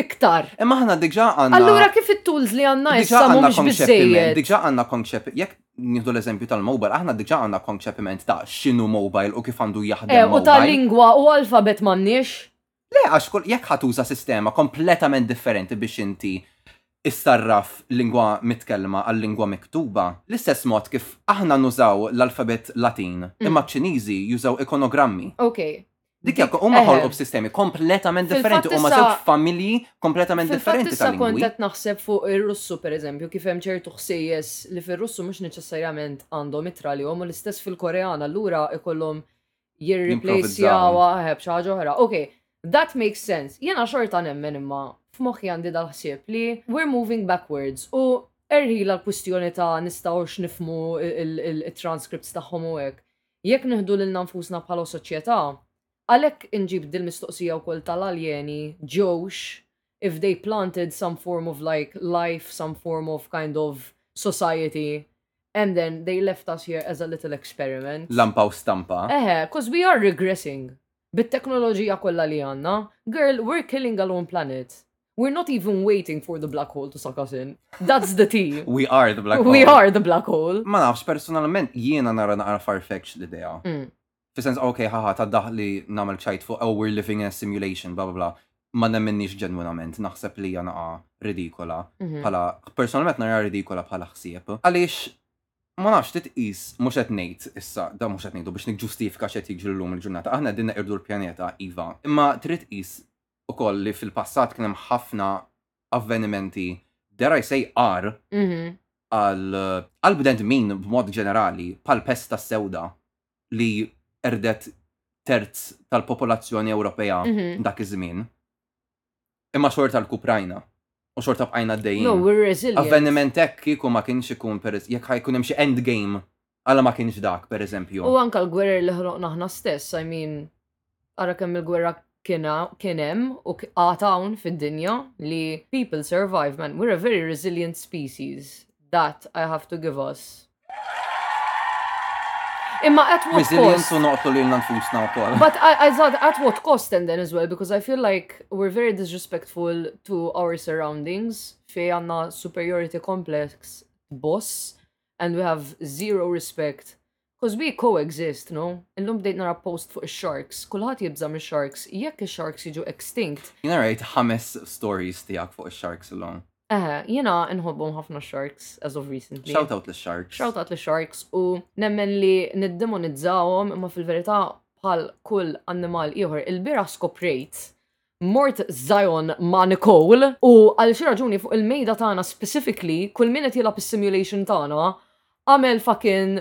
C: iktar.
D: Imma ħna diġà għandna.
C: Allura kif it-tools li għanna
D: diġà
C: issa
D: għandna
C: mhumiex
D: konċepiment,
C: biżejjed?
D: diġà għandna konċepiment, jekk nieħdu l-eżempju tal-mobile, aħna diġà għandna konċepiment ta' x'inhu mobile u kif għandu jaħdem.
C: Eh, u ta'
D: mobile.
C: lingwa u alfabet mannix.
D: Le, għax kull jekk ħatuża sistema kompletament differenti biex inti istarraf lingwa mitkellma għal lingwa miktuba, l-istess mod
C: Mm.
D: kif aħna nużaw l-alfabet latin, imma ċ-Ċiniżi jużaw ikonogrammi.
C: Ok.
D: Dik jekk huma
C: Eħe.
D: ħolqu b'sistemi kompletament
C: Eh. Fil-fatt
D: differenti, huma
C: issa-
D: żewġ familji kompletament
C: Fil-fatt
D: differenti
C: issa kont
D: tal-lingwi.
C: qed naħseb fuq ir-Russu pereżempju kif hemm ċertu ħsejjes li fir-Russu mhux neċessarjament għandhom itra li hom u l-istess fil-Korean allura ikollhom jirriplejsjaw ħeb xi ħaġa oħra. Okay, that makes sense. Jiena xorta nemmen imma f'moħħi għandi dal-ħsieb li we're moving backwards u erħila l-kwistjoni ta' nistgħux nifmu il-transcripts tagħhom u hekk. Jekk nieħdu lil nfusna bħala soċjetà, għalhekk inġib dil-mistoqsija wkoll tal-aljeni ġewx if they planted some form of like life, some form of kind of society, and then they left us here as a little experiment.
D: Lampa u stampa.
C: Eħe, cause we are regressing. Bit-teknoloġija kollha li għandna, girl, we're killing our own planet. We're not even waiting for the black hole to suck us in. That's the tea.
D: We are the black
C: we
D: hole.
C: are the black hole.
D: Ma nafx, personalment jiena nara naqra farfetch l-idea.
C: Mm.
D: Fisens, ok, haha, ta' daħli namel ċajt fuq, oh, we're living in a simulation, bla bla bla. Ma nemminnix ġenwinament, naħseb li jana ridikola.
C: Mhm.
D: Pala, personalment nara ridikola bħala ħsieb. Għaliex, ma nafx titqis, mux qed ngħid issa, da mhux qed ngħidu biex nikġustifika x'qed jiġri llum il-ġurnata. Aħna dinna irdu l-pjaneta, Iva. Imma trid tqis ukoll li fil-passat kien hemm ħafna avvenimenti, dare I say, ar
C: Mhm.
D: għal għal bident min b'mod ġenerali pal pesta sewda li erdet terz tal-popolazzjoni Ewropea
C: Mhm.
D: dak iż-żmien. Imma xorta l-Kuprajna u xorta bqajna d-dejjin.
C: No, we're resilient.
D: Avveniment hekk kieku ma kienx ikun per jekk ħajkun hemm xi endgame għala ma kienx dak pereżempju.
C: U anka l-gwerra li ħloqna aħna stess, I mean, ara kemm il-gwerra kiena- kienem u k- għatawn fid-dinja li people survive, man. We're a very resilient species. That I have to give us. Imma at what
D: Resilience
C: cost?
D: u noqtu li l-nfusna u kol.
C: But I, I thought at what cost and then as well, because I feel like we're very disrespectful to our surroundings. Fej għanna superiority complex boss and we have zero respect. Because we coexist, no? Illum bdejt nara post fuq sharks. Kulħat jibza mis sharks. Jekk sharks jiġu extinct.
D: Jina rajt ħames stories tijak fuq il-sharks l-lum.
C: Eh, jena nħobbom ħafna sharks as of recently.
D: Shout out l-sharks.
C: Shout out li sharks u nemmen li niddemonizzawhom imma fil-verità bħal kull annimal ieħor il-bira skoprejt Mort Zion ma' Nicole u għal xi raġuni fuq il-mejda tagħna specifically kull min qed jilgħab is-simulation tagħna għamel fucking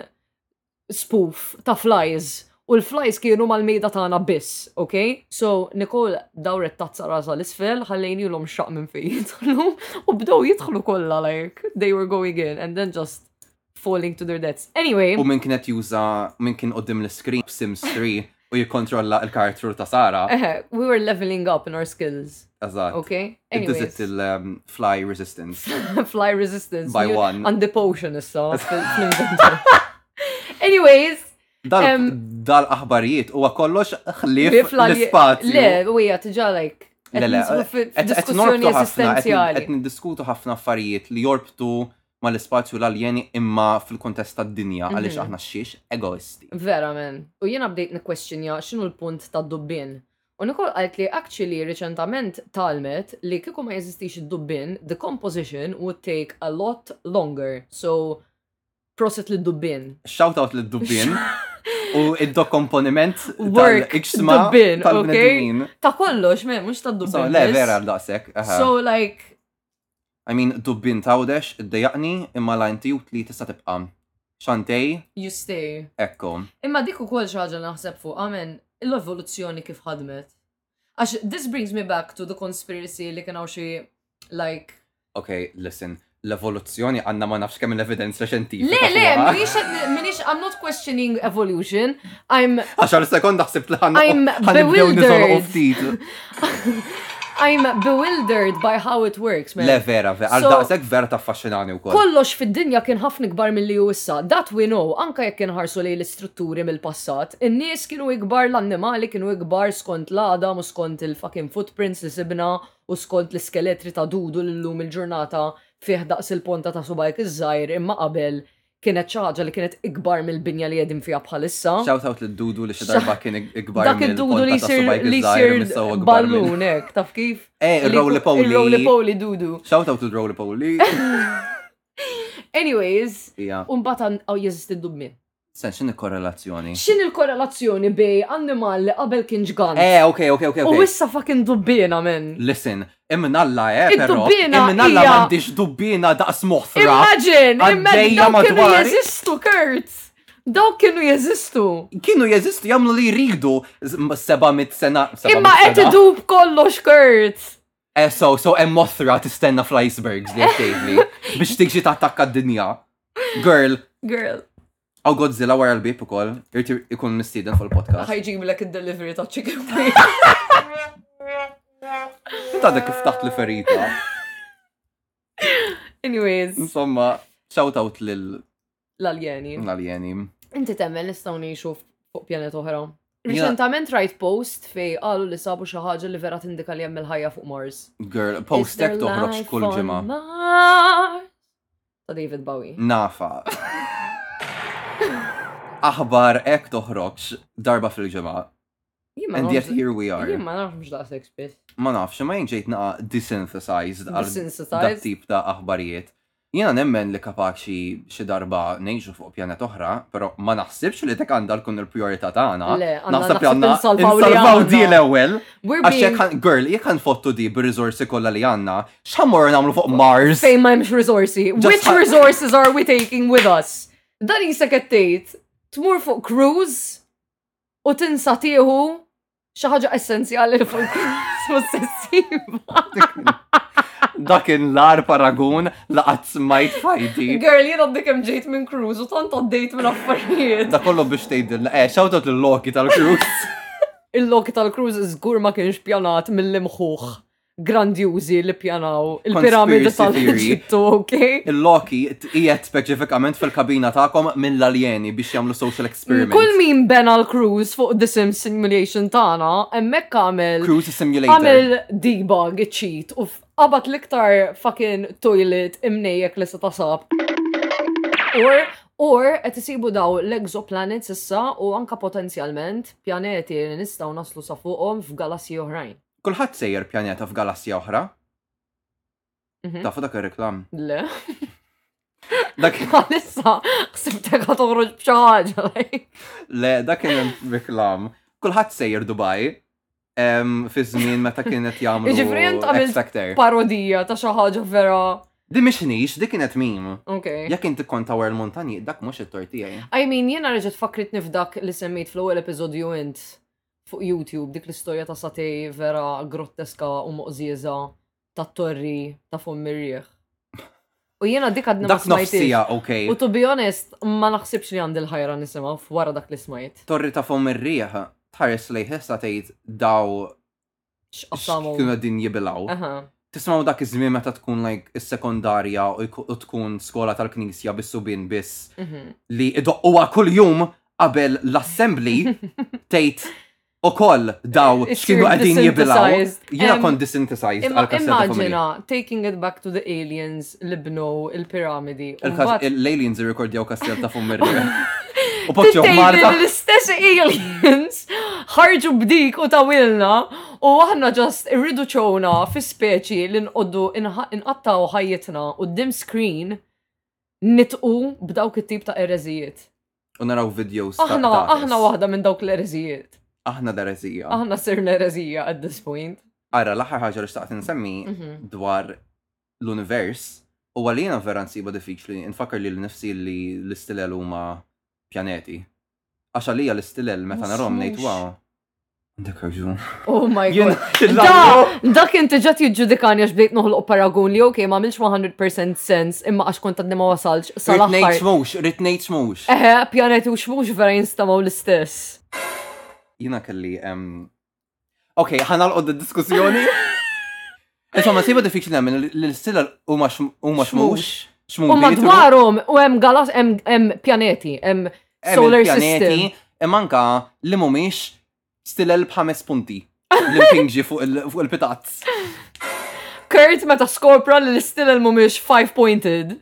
C: spoof ta' flies u l-flies kienu mal-mejda tagħna biss, ok? So Nicole dawret tazza rasa l-isfel, ħallejni l-om xaq minn fejn jidħlu u bdew jidħlu kollha like they were going in and then just falling to their deaths. Anyway,
D: U minn kienet juża minn kien qoddim l-screen Sims 3 u jikkontrolla il-kartru ta' Sara.
C: eh, we were leveling up in our skills,
D: Eżatt.
C: ok?
D: Id-dizit
C: Anyways,
D: il-fly resistance.
C: fly resistance.
D: By
C: you-
D: one.
C: And the potion issa. fil- fil-inventory. Anyways,
D: Dal-
C: Em.
D: Dal-aħbarijiet huwa kollox ħlief
C: bifla li-
D: l-ispazju.
C: Le, wija, tġa like.
D: Le, le, qed- qed
C: Diskussjoni
D: norbtu ħafna, qed-
C: esistenziali.
D: Qed niddiskutu ħafna affarijiet li jorbtu ma l-ispazju l-aljeni imma fil-kontest tad-dinja
C: Mhm.
D: għaliex aħna xiex egoisti.
C: Vera, man. U jiena bdejt nikkwestjonja x'inhu l-punt tad dubbin. U nikol għalt li actually reċentament talmet li kieku ma jeżistix id-dubbin, the composition would take a lot longer. So, proset li dubbin.
D: Shout out l-dubbin u id-dokomponiment
C: Work,
D: tal-iksma
C: dubbin,
D: tal-bnedmin.
C: ok? Ta' kollox, man, mux ta'
D: So,
C: dubbin.
D: le,
C: biss.
D: vera l-daqsek. aha.
C: So, like,
D: I mean, dubbin tawdex, id-dejaqni, imma lajn tiju li tista tibqa. Xantej,
C: you stay.
D: ekko.
C: Imma dik ukoll xi ħaġa li naħseb fuq għamen l-evoluzzjoni kif ħadmet. Għax this brings me back to the conspiracy li kien hawn xi like
D: Ok, listen, l-evoluzzjoni għanna ma nafx kemm l-evidenza xentifika.
C: Le, le,
D: fuqha.
C: minix, minix, I'm not questioning evolution. I'm,
D: Għaxar sekonda ħsibt li ħanna.
C: I'm
D: ħanibdew nizolu
C: bewildered.
D: ftit.
C: I'm bewildered by how it works, man.
D: Le, vera, vera, għal
C: So-
D: daqsek vera ta' affaxxinani wkoll.
C: Kollox fid-dinja kien ħafna kbar mill-li ju issa. That we know, anka jekk inħarsu lej l-istrutturi mill-passat, in-nies kienu ikbar l-annimali kienu ikbar skont l-adam u skont il-fucking footprints li sibna u skont l-iskeletri ta' dudu l-lum il-ġurnata fih daqs il-ponta ta' subajk iż-żajr imma qabel kienet xi ħaġa li kienet ikbar mill-binja li jedin fija bħalissa.
D: Shout out l-dudu li xidarba kien ikbar.
C: Dak id-dudu li jisir li jisir ballunek, taf kif?
D: Eh, il-rowli poli.
C: Il-rowli poli dudu.
D: Shout out l-rowli poli.
C: Anyways,
D: Ija.
C: oh, unbata għaw jeżist id-dubmin.
D: Sen, xin korrelazzjoni?
C: Xin il-korrelazzjoni bej animal li qabel kien ġgant?
D: Eh, ok, ok, ok,
C: U
D: ok.
C: issa fucking dubbina minn.
D: Listen, imnalla, eh, pero.
C: Id-dubbina
D: Imnalla
C: hija-
D: mandiġ dubbina daqs moħtra.
C: Imagine, imagine,
D: Għaddejja
C: daw kienu
D: madwari.
C: jeżistu, Kurt! Daw kienu jeżistu!
D: Kienu jeżistu jamlu li jridu z- m- 700 sena. 700
C: Imma qed
D: sena.
C: idub kollox, Kurt!
D: Eh, so, so hemm mothra tistenna fl-icebergs li għattejli biex tiġi tattakka d-dinja. Girl,
C: Girl,
D: għaw Godzilla wara l-bib ukoll, irti ikun mistieden fil-podcast.
C: ħajġib l il-delivery ta' chicken wing.
D: Inta dak kif taħt li ferita.
C: Anyways,
D: Insomma, shout out lil
C: l-aljeni.
D: Mm. alieni.
C: Inti temmen nistgħu ngħixu fuq pjanet oħra.
D: Jina-
C: Reċentament rajt post fej qalu li sabu xi ħaġa li vera tindika li hemm il-ħajja fuq Mars. Is
D: Girl,
C: there
D: postek toħroġ
C: life
D: kull
C: on
D: ġimgħa.
C: Mars? Ta' David Bowie.
D: Nafa. Aħbar ek toħroġ darba fil-ġimgħa.
C: Jien ma
D: And yet
C: nafx-
D: here we are.
C: jien ma nafx mhux daqshekk spiss.
D: Ma nafx, ma jinġejt naqa desynthesized għal
C: Desynthesized?
D: tip ta' aħbarijiet. Jena nemmen li kapaxi xi darba nejġu fuq pjanet oħra, pero ma naħsibx li tek għandha kun il-priorità tagħna.
C: Le, għandna
D: Naħseb li
C: naħseb
D: għandna
C: insalvaw li
D: insalvaw
C: għandna.
D: di l-ewwel.
C: We're
D: Għax
C: being
D: jekk għan- girl, jekk nfottu di bir-riżorsi kollha li għandna, x'ammor nagħmlu fuq Mars?
C: fejn ma hemmx resorsi.
D: Just
C: Which
D: ha-
C: resources are we taking with us? Dan jisa tgħid tmur fuq cruise u tinsa tieħu xi ħaġa essenzjali li fuq cruise mhux se ssibha.
D: Dakin l-ar paragun laqat smajt fajti.
C: Girl, jiena għaddi kemm ġejt minn cruise u tant għaddejt minn affarijiet.
D: Da kollu biex tgħidilna, eh, shout out lill-Loki tal-Cruise.
C: Il-loki tal-cruise żgur ma kienx pjanat mill-imħuħ grandjużi li pjanaw il-piramidi
D: Conspiracy theory.
C: tal-Eġittu, okay?
D: il-Loki qiegħed speċifikament fil-kabina tagħkom mill-alieni biex jagħmlu social experiment.
C: Kull min bena l-cruise fuq The Sims simulation tana, emmek għamil
D: Cruise simulator.
C: għamil debug cheat u f'qabat l-iktar fucking toilet imnejek li se tasab. Or, or qed isibu daw l-exoplanets issa u anka potenzjalment pjaneti li nistgħu naslu sa fuqhom f'galassi oħrajn.
D: Kulħadd sejjer pjaneta f'galassja oħra.
C: Mhm.
D: Tafu dak ir-reklam.
C: Le,
D: Dak
C: għalissa xsibtek ħa toħroġ b'xi ħaġa. like.
D: le dak kien reklam. Kulħadd sejjer Dubai. em, fi żmien meta kienet jagħmlu
C: Jiġifieri int għamilt
D: X-Factor.
C: parodija ta' xi ħaġa vera.
D: Di mixniex, di kienet mim.
C: Okay.
D: Jekk inti kont tawar il-montani, dak mhux it-tortija.
C: I mean, jena reġet fakrit nifdak li semmejt fl-ewwel episodju int fuq YouTube dik l-istorja ta' satej vera grotteska u moqżiża ta' torri ta' Fommirrieħ. U jena dik għadna ma
D: Dak
C: smajtix.
D: nofsija, okej.
C: U to be honest, ma naħsibx li għandi l-ħajra nisema wara dak li smajt.
D: Torri ta' fom ir-rieħ tħares lej ħessa tgħid daw
C: X'qassamu.
D: kienu din jibilaw.
C: Aha.
D: tismaw dak iż-żmien meta tkun like is-sekondarja u jku- u tkun skola tal-knisja bis-subin biss
C: mhm.
D: li idoqquha kuljum qabel l-assembly tgħid ukoll daw
C: It's
D: x'kienu
C: your
D: qegħdin jibilaw.
C: desynthesized.
D: Jiena
C: Em,
D: kont desynthesized
C: Imma
D: għal kassetta familja.
C: immaġina, taking it back to the aliens li bnow il-piramidi. u mbagħad
D: Il-aliens irrekordjaw kassell ta' fum mirri. U poċċo
C: Tittejli
D: Marta.
C: l-istess aliens ħarġu bdik u tawilna u aħna ġast irridu ċowna fi speċi li nqoddu inħa- inqattaw ħajjitna u d-dim screen nitqu b'dawk it-tip ta' ereżijiet.
D: U naraw videos ta'
C: Aħna,
D: ta'
C: aħna waħda minn dawk l-ereżijiet.
D: Aħna darezija.
C: Aħna sirna ereżija at this point.
D: Ara, l-aħħar ħaġa li xtaqt insemmi
C: Mhm.
D: dwar l-univers u għalina vera nsiba diffiċli nfakkar li l-nifsi li l-istilel huma pjaneti. Għax għalija l-istilel meta
C: Ma
D: narhom ngħid
C: smux.
D: wow. Għandek raġun.
C: Oh my
D: Jien-
C: god. Da, da kien tiġat jġudikani għax bdejt noħloq paragun li ok, ma milx 100% sens imma għax kont għadni ma wasalx
D: Rit ngħid
C: sal-axħar.
D: xmux, rit ngħid xmux.
C: Eħe, pjaneti u xmux vera jinstamaw l-istess.
D: Jina kelli. em, Ok, ħanalqod id-diskussjoni. Insomma, nsiba diffiċli nemmen li l-istilel huma xm- huma xmux. xmux
C: U
D: li jitru-
C: madwarhom u hemm galas hemm hemm pjaneti, hemm
D: hemm
C: solar
D: il-pjaneti,
C: system.
D: Imma anka li mhumiex stilel b'ħames punti. Li pinġi fuq il- fuq il-pitazz.
C: Kurt meta skopra li l-istilel mhumiex five pointed.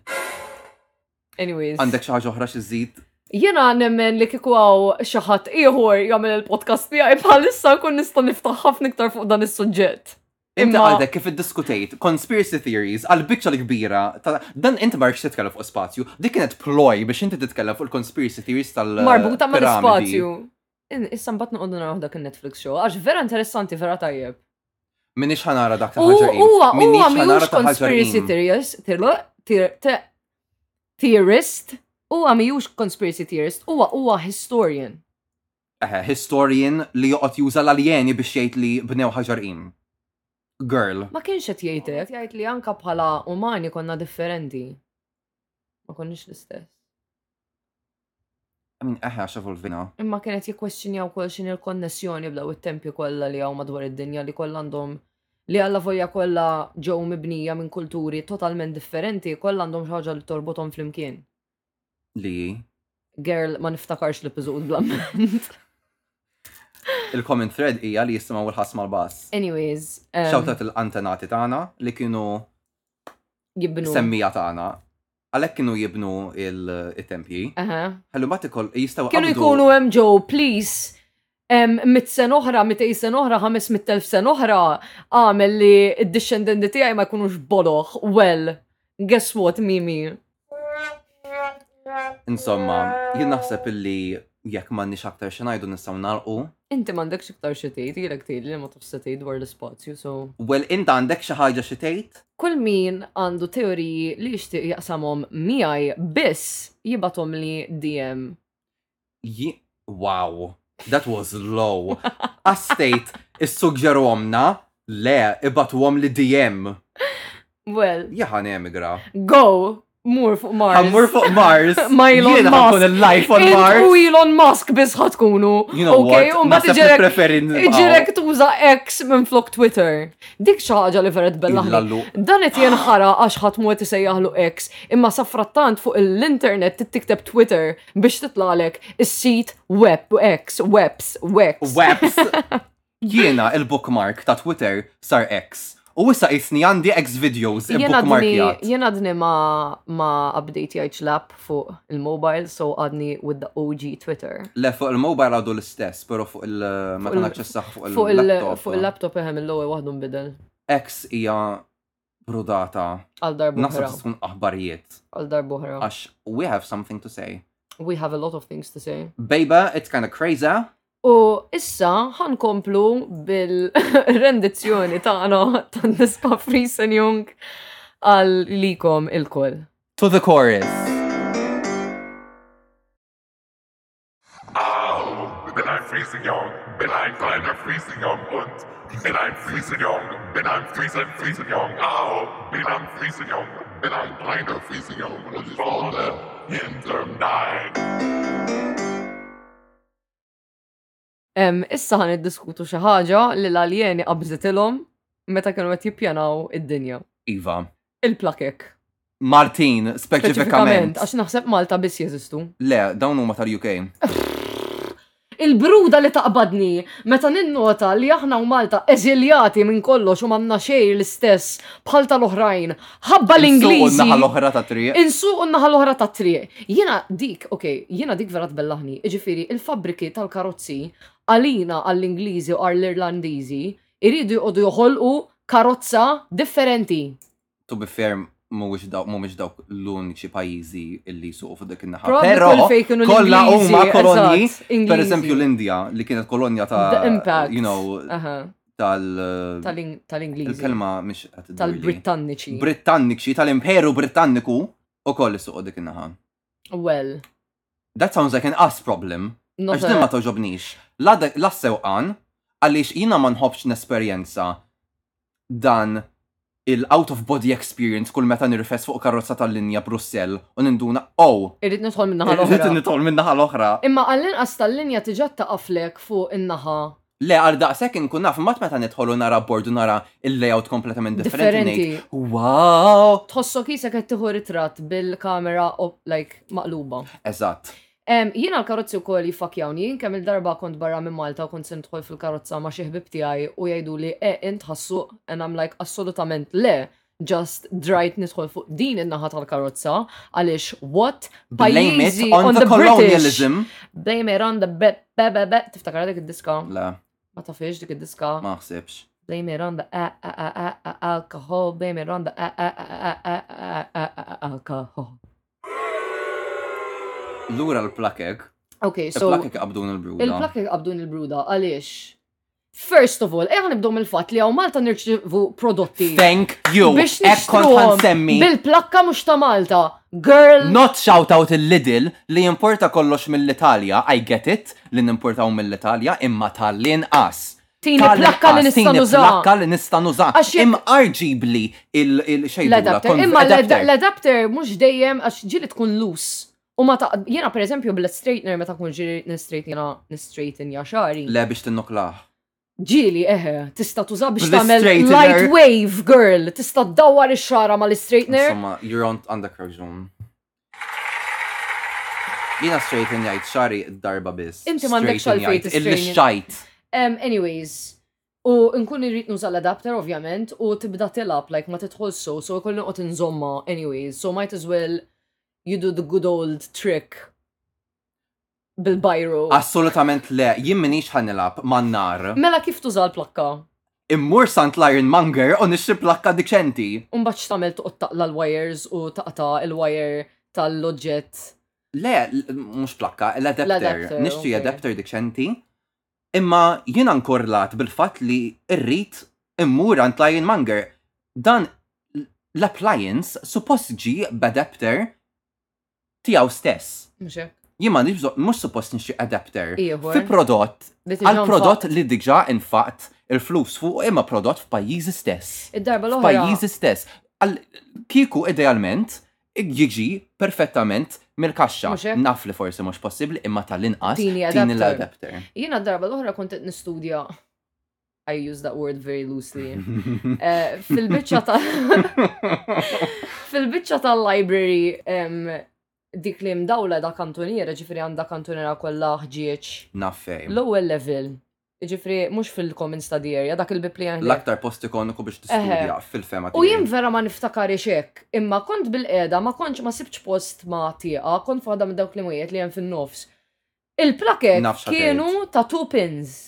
C: Anyways.
D: Għandek xi ħaġa oħra xi żid?
C: Jena nemmen li kiku għaw xaħat iħor jgħamil il-podcast tijaj bħalissa kun nista niftaħ ħafna iktar fuq dan is suġġett
D: Inti
C: Imma-
D: għadek kif id-diskutejt conspiracy theories għal bicċa l-kbira ta' dan inti ma rridx titkellem fuq spazju, dik kienet ploj biex inti titkellem fuq il-conspiracy theories tal-
C: Marbuta ma'
D: Eh, piramidi.
C: l-spazju. In- Issa mbagħad noqogħdu naraw dak il-Netflix show għax vera interessanti vera tajjeb.
D: Minix ħanara dak ta'
C: U
D: ħaġa im.
C: huwa huwa
D: Minix ħanara
C: mhijiex
D: ta' ħaġa
C: conspiracy
D: im.
C: theorist, tirlo- tir- te- theorist, huwa mhijiex conspiracy theorist, huwa huwa historian.
D: Eh, Historian li joqgħod juża l-aljeni biex jgħid li bnew ħaġar im. Girl.
C: Ma kienx qed jgħidlek, jgħid li anka bħala umani konna differenti. Ma konniex l-istess.
D: Min eħe għax evolvina.
C: Imma kienet jikwestjonjaw kol xin il-konnessjoni b'daw it-tempi kollha li hawn madwar id-dinja li kollha għandhom li għalla vojja kollha ġew mibnija minn kulturi totalment differenti, kollha għandhom xi ħaġa li torbothom flimkien.
D: Li
C: Girl, ma niftakarx l-episod blamment.
D: il-common thread hija li jisimaw il-ħas mal-bass.
C: Anyways, um,
D: Xawtat il-antenati tagħna li kienu
C: jibnu.
D: semmija tagħna. Għalhekk kienu jibnu il-tempji.
C: Aha.
D: Ħallu ma tikol jistaw
C: Kienu jkunu hemm ġew, please. Um, mit sen oħra, mit sen oħra, ħames mit telf sen oħra, għamel li id-discendenti tiegħi ma jkunux boloħ. Well, guess what, Mimi?
D: Insomma, jien naħseb illi jekk m'għandniex aktar xi ngħidu nistgħu nagħlqu.
C: Inti m'għandekx iktar xi tgħid, jilek tgħid li ma tafsa tgħid dwar l-ispazju, so.
D: Well, inta għandek xi ħaġa xi tgħid?
C: Kull min għandu teoriji li jixtieq jaqsamhom miegħi biss jibatom li DM.
D: Ji- Wow, that was low. Għastejt is-sugġeru għomna, le, ibatu għom li DM.
C: Well,
D: Jaħan emigra.
C: go! Mur fuq Mars.
D: Għammur fuq Mars.
C: Ma Elon
D: Jien ħankun
C: Musk.
D: il-life on
C: Int U
D: Mars.
C: Elon Musk biss ħatkunu.
D: You know
C: okay,
D: what?
C: un bat
D: Naħseb
C: iġerek
D: nippreferi nibqgħu.
C: iġerek tuża X minn flok Twitter. Dik xi ħaġa li veret
D: Illa
C: bellaħna.
D: lu.
C: Dan qed jenħara għax ħadd mu qed isejjaħlu X, imma sa frattant fuq l-internet tittikteb Twitter biex titlalek is-sit web X, webs, wex.
D: Webs. Jiena il-bookmark ta' Twitter sar X. U issa jisni għandi X videos
C: Jena dni,
D: il-bookmarkjat.
C: jena dni ma, ma update jgħajċ lap fuq il-mobile, so għadni with the OG Twitter.
D: Le, fuq il-mobile għadu l-istess, pero fuq il- ma
C: Fuq il-
D: kan aċċessaħ fuq
C: Fuq il- fuq
D: il-laptop.
C: il-laptop eħem il-lowe waħdu nbidel.
D: X hija brudata.
C: Għal darbu
D: Naħseb
C: ħra.
D: tista' tkun aħbarijiet.
C: Għal darbu ħra.
D: Għax we have something to say.
C: We have a lot of things to say.
D: Bejba, it's kind of crazy.
C: U issa ħankomplu bil-rendizzjoni tagħna tan-nisba Friesen Jung għal likom il-koll.
D: To the chorus.
G: Au, bin ein Friesenjong, bin ein kleiner Friesenjong und bin ein Friesenjong, bin ein Friesen, Friesenjong, au, bin ein Friesenjong, bin ein kleiner Friesenjong und vorne, hinterm Nein.
C: Em, issa ħan iddiskutu xi ħaġa li l-aljeni qabżitilhom meta kienu qed jippjanaw id-dinja.
D: Iva.
C: Il-plakek.
D: Martin,
C: Speċifikament,
D: speċifikament.
C: għax naħseb Malta biss jeżistu.
D: Le, dawn huma tal-UK.
C: Il-bruda li taqbadni, meta ninnota li aħna u Malta eżiljati minn kollox u manna xej l-istess bħal tal-oħrajn, ħabba
D: Insuqu n-naħa
C: l-Ingliżi.
D: l-oħra ta' triq.
C: Insu u naħa l-oħra ta' triq. Jiena dik, ok, jiena dik vera tbellaħni. Iġifiri, il-fabriki tal-karozzi għalina għall-Ingliżi u għall-Irlandiżi iridu jqogħdu joħolqu karozza differenti.
D: To be fair, mhuwiex dawk mhumiex dawk l-uniċi pajjiżi illi suqu fuq dik in-naħa.
C: Probably
D: Però
C: kull fejn kienu
D: kollha
C: l-Ingliżi,
D: huma kolonji,
C: eżatt, Ingliżi.
D: per eżempju l-Indja li kienet kolonja
C: The
D: ta'
C: impact. Ah.
D: you know
C: Aha,
D: tal
C: tal-Ing- tal-Ingliżi.
D: il-kelma mhix qed tidurli.
C: Tal-Brittanniċi.
D: Brittanniċi tal-Imperu Brittanniku u koll suq dik in-naħa.
C: Well,
D: That sounds like an us problem.
C: not
D: Għax
C: a-
D: din ma toġobnix. La dak- la sewqan għaliex jiena ma nħobbx nesperjenza dan il-out of body experience kull meta nirfess fuq karozza tal-linja Brussell u ninduna oh
C: Irrid nidħol minn naħa
D: irrid
C: l-oħra.
D: nitol minn naħa l-oħra.
C: Imma għall-inqas tal-linja tiġa taqaflek fuq in-naħa
D: Le għal daqshekk inkun naf mat meta nidħol u nara bord u nara il-layout kompletament differenti.
C: differenti.
D: ngħid, Wow!
C: Tħossok jisa qed tieħu ritratt bil-kamera o- like maqluba.
D: Eżatt.
C: Em, jiena l-karozzi wkoll jiffakjawni, jien kemm il-darba kont barra minn Malta u kont se nidħol fil-karozza ma xi ħbib tiegħi u jgħidu li e int ħassu and I'm like assolutament le just drajt nidħol fuq din in-naħa tal-karozza għaliex what
D: Blame it
C: pajjiżi
D: on the
C: British.
D: colonialism.
C: Blame it on the be be be be tiftakar dik id-diska
D: Le,
C: ma tafiex dik id-diska
D: ma ħsibx.
C: blame it on the a- a- a- a- a- alcohol, blame it on the a- a- a- a- a- a- a- a- alcohol.
D: Lura l-plakek, E
C: Okay, so
D: il-plakek qabdun il-bruda.
C: il-plakek qabdun il-bruda, għaliex? First of all, eħan nibdom il-fat li għaw Malta nirċivu prodotti.
D: Thank you!
C: Biex
D: Ekkon
C: nixtruhom
D: ħan semmi!
C: Bil-plakka mux ta' Malta. Girl,
D: Not shout out il-Lidl li importa kollox mill-Italja, I get it, li nimportaw mill-Italja, imma tal-inqas.
C: Tini plakka li
D: Tal-inqas,
C: nista'
D: tini
C: nuża.
D: Plakka li nista' nuża.
C: Għax jekk-
D: Im arguably il-xejdu
C: l-adapter. Imma l- l-adapter mux dejjem għax ġili tkun loose. U ma ta' jena per eżempju bl-straightener meta kun ġili nistraighten jena nistraighten ja xari.
D: Le biex tinnoklaħ.
C: Ġili eħe, tista' tuża biex
D: Bl-
C: tagħmel
D: straightener.
C: light wave girl, tista' ddawwar ix-xara mal-straightener.
D: Insomma, you're on undercrow zone. Jina straight in jajt xari darba biss.
C: Inti m'għandek
D: Straight in
C: xalfejn
D: jgħid,
C: tistraighten.
D: Illi xajt.
C: Um, anyways, u nkun irrit nuża l-adapter ovvjament u tibda tilab, like ma titħol so, so kollu qed inżomma anyways, so might as well you do the good old trick bil-biro.
D: Assolutament le, jien minix ħanilab man nar.
C: Mela kif tuża l-plakka?
D: Immur sant Lion Monger u nixxi plakka dikċenti.
C: Umbat x'tagħmel toqgħod taqla l-wires u taqta l-wire tal-loġġett.
D: Le, l- mhux plakka, l-adapter.
C: L-adapter,
D: Nixtri
C: ok.
D: adapter dikċenti. Imma jiena nkorlat bil-fatt li rrit immur għand Lion Monger. Dan l- l-appliance suppost ġi b'adapter tiegħu stess.
C: Mhux hekk.
D: Jien ma nibżo, mux suppost nixi adapter.
C: Ieħor.
D: Fi prodott,
C: Li tiġi
D: għal prodott li diġa infaqt il-flus fuq imma prodott f'pajjiżi stess.
C: Id-darba l-oħra.
D: F'pajjiżi stess. Għal kiku idealment jiġi perfettament mill-kaxxa.
C: Mhux hekk?
D: Naf li forsi mhux possibbli imma tal-inqas
C: Tini adapter.
D: tini l-adapter.
C: Jiena d-darba l-oħra kont qed nistudja. I use that word very loosely. Eh, Fil-biċċa ta' Fil-bicċa tal-library em, dik li mdawla da kantoniera, ġifri għanda kantoniera kolla ħġieċ.
D: Naf fejn.
C: L-ewwel level, ġifri mux fil-commons ta' di area, dak il-bib li għandek.
D: L-aktar post ikoniku biex
C: Eħe.
D: tistudja fil-fema
C: U jien
D: tiegħi.
C: vera ma niftakar xek, imma kont bil-qeda, ma kontx ma sibċ post ma tieqa, kont fada minn dawk li mwiet li jen fin-nofs. Il-plakek
D: Nafx ħatejt.
C: kienu ta' two pins.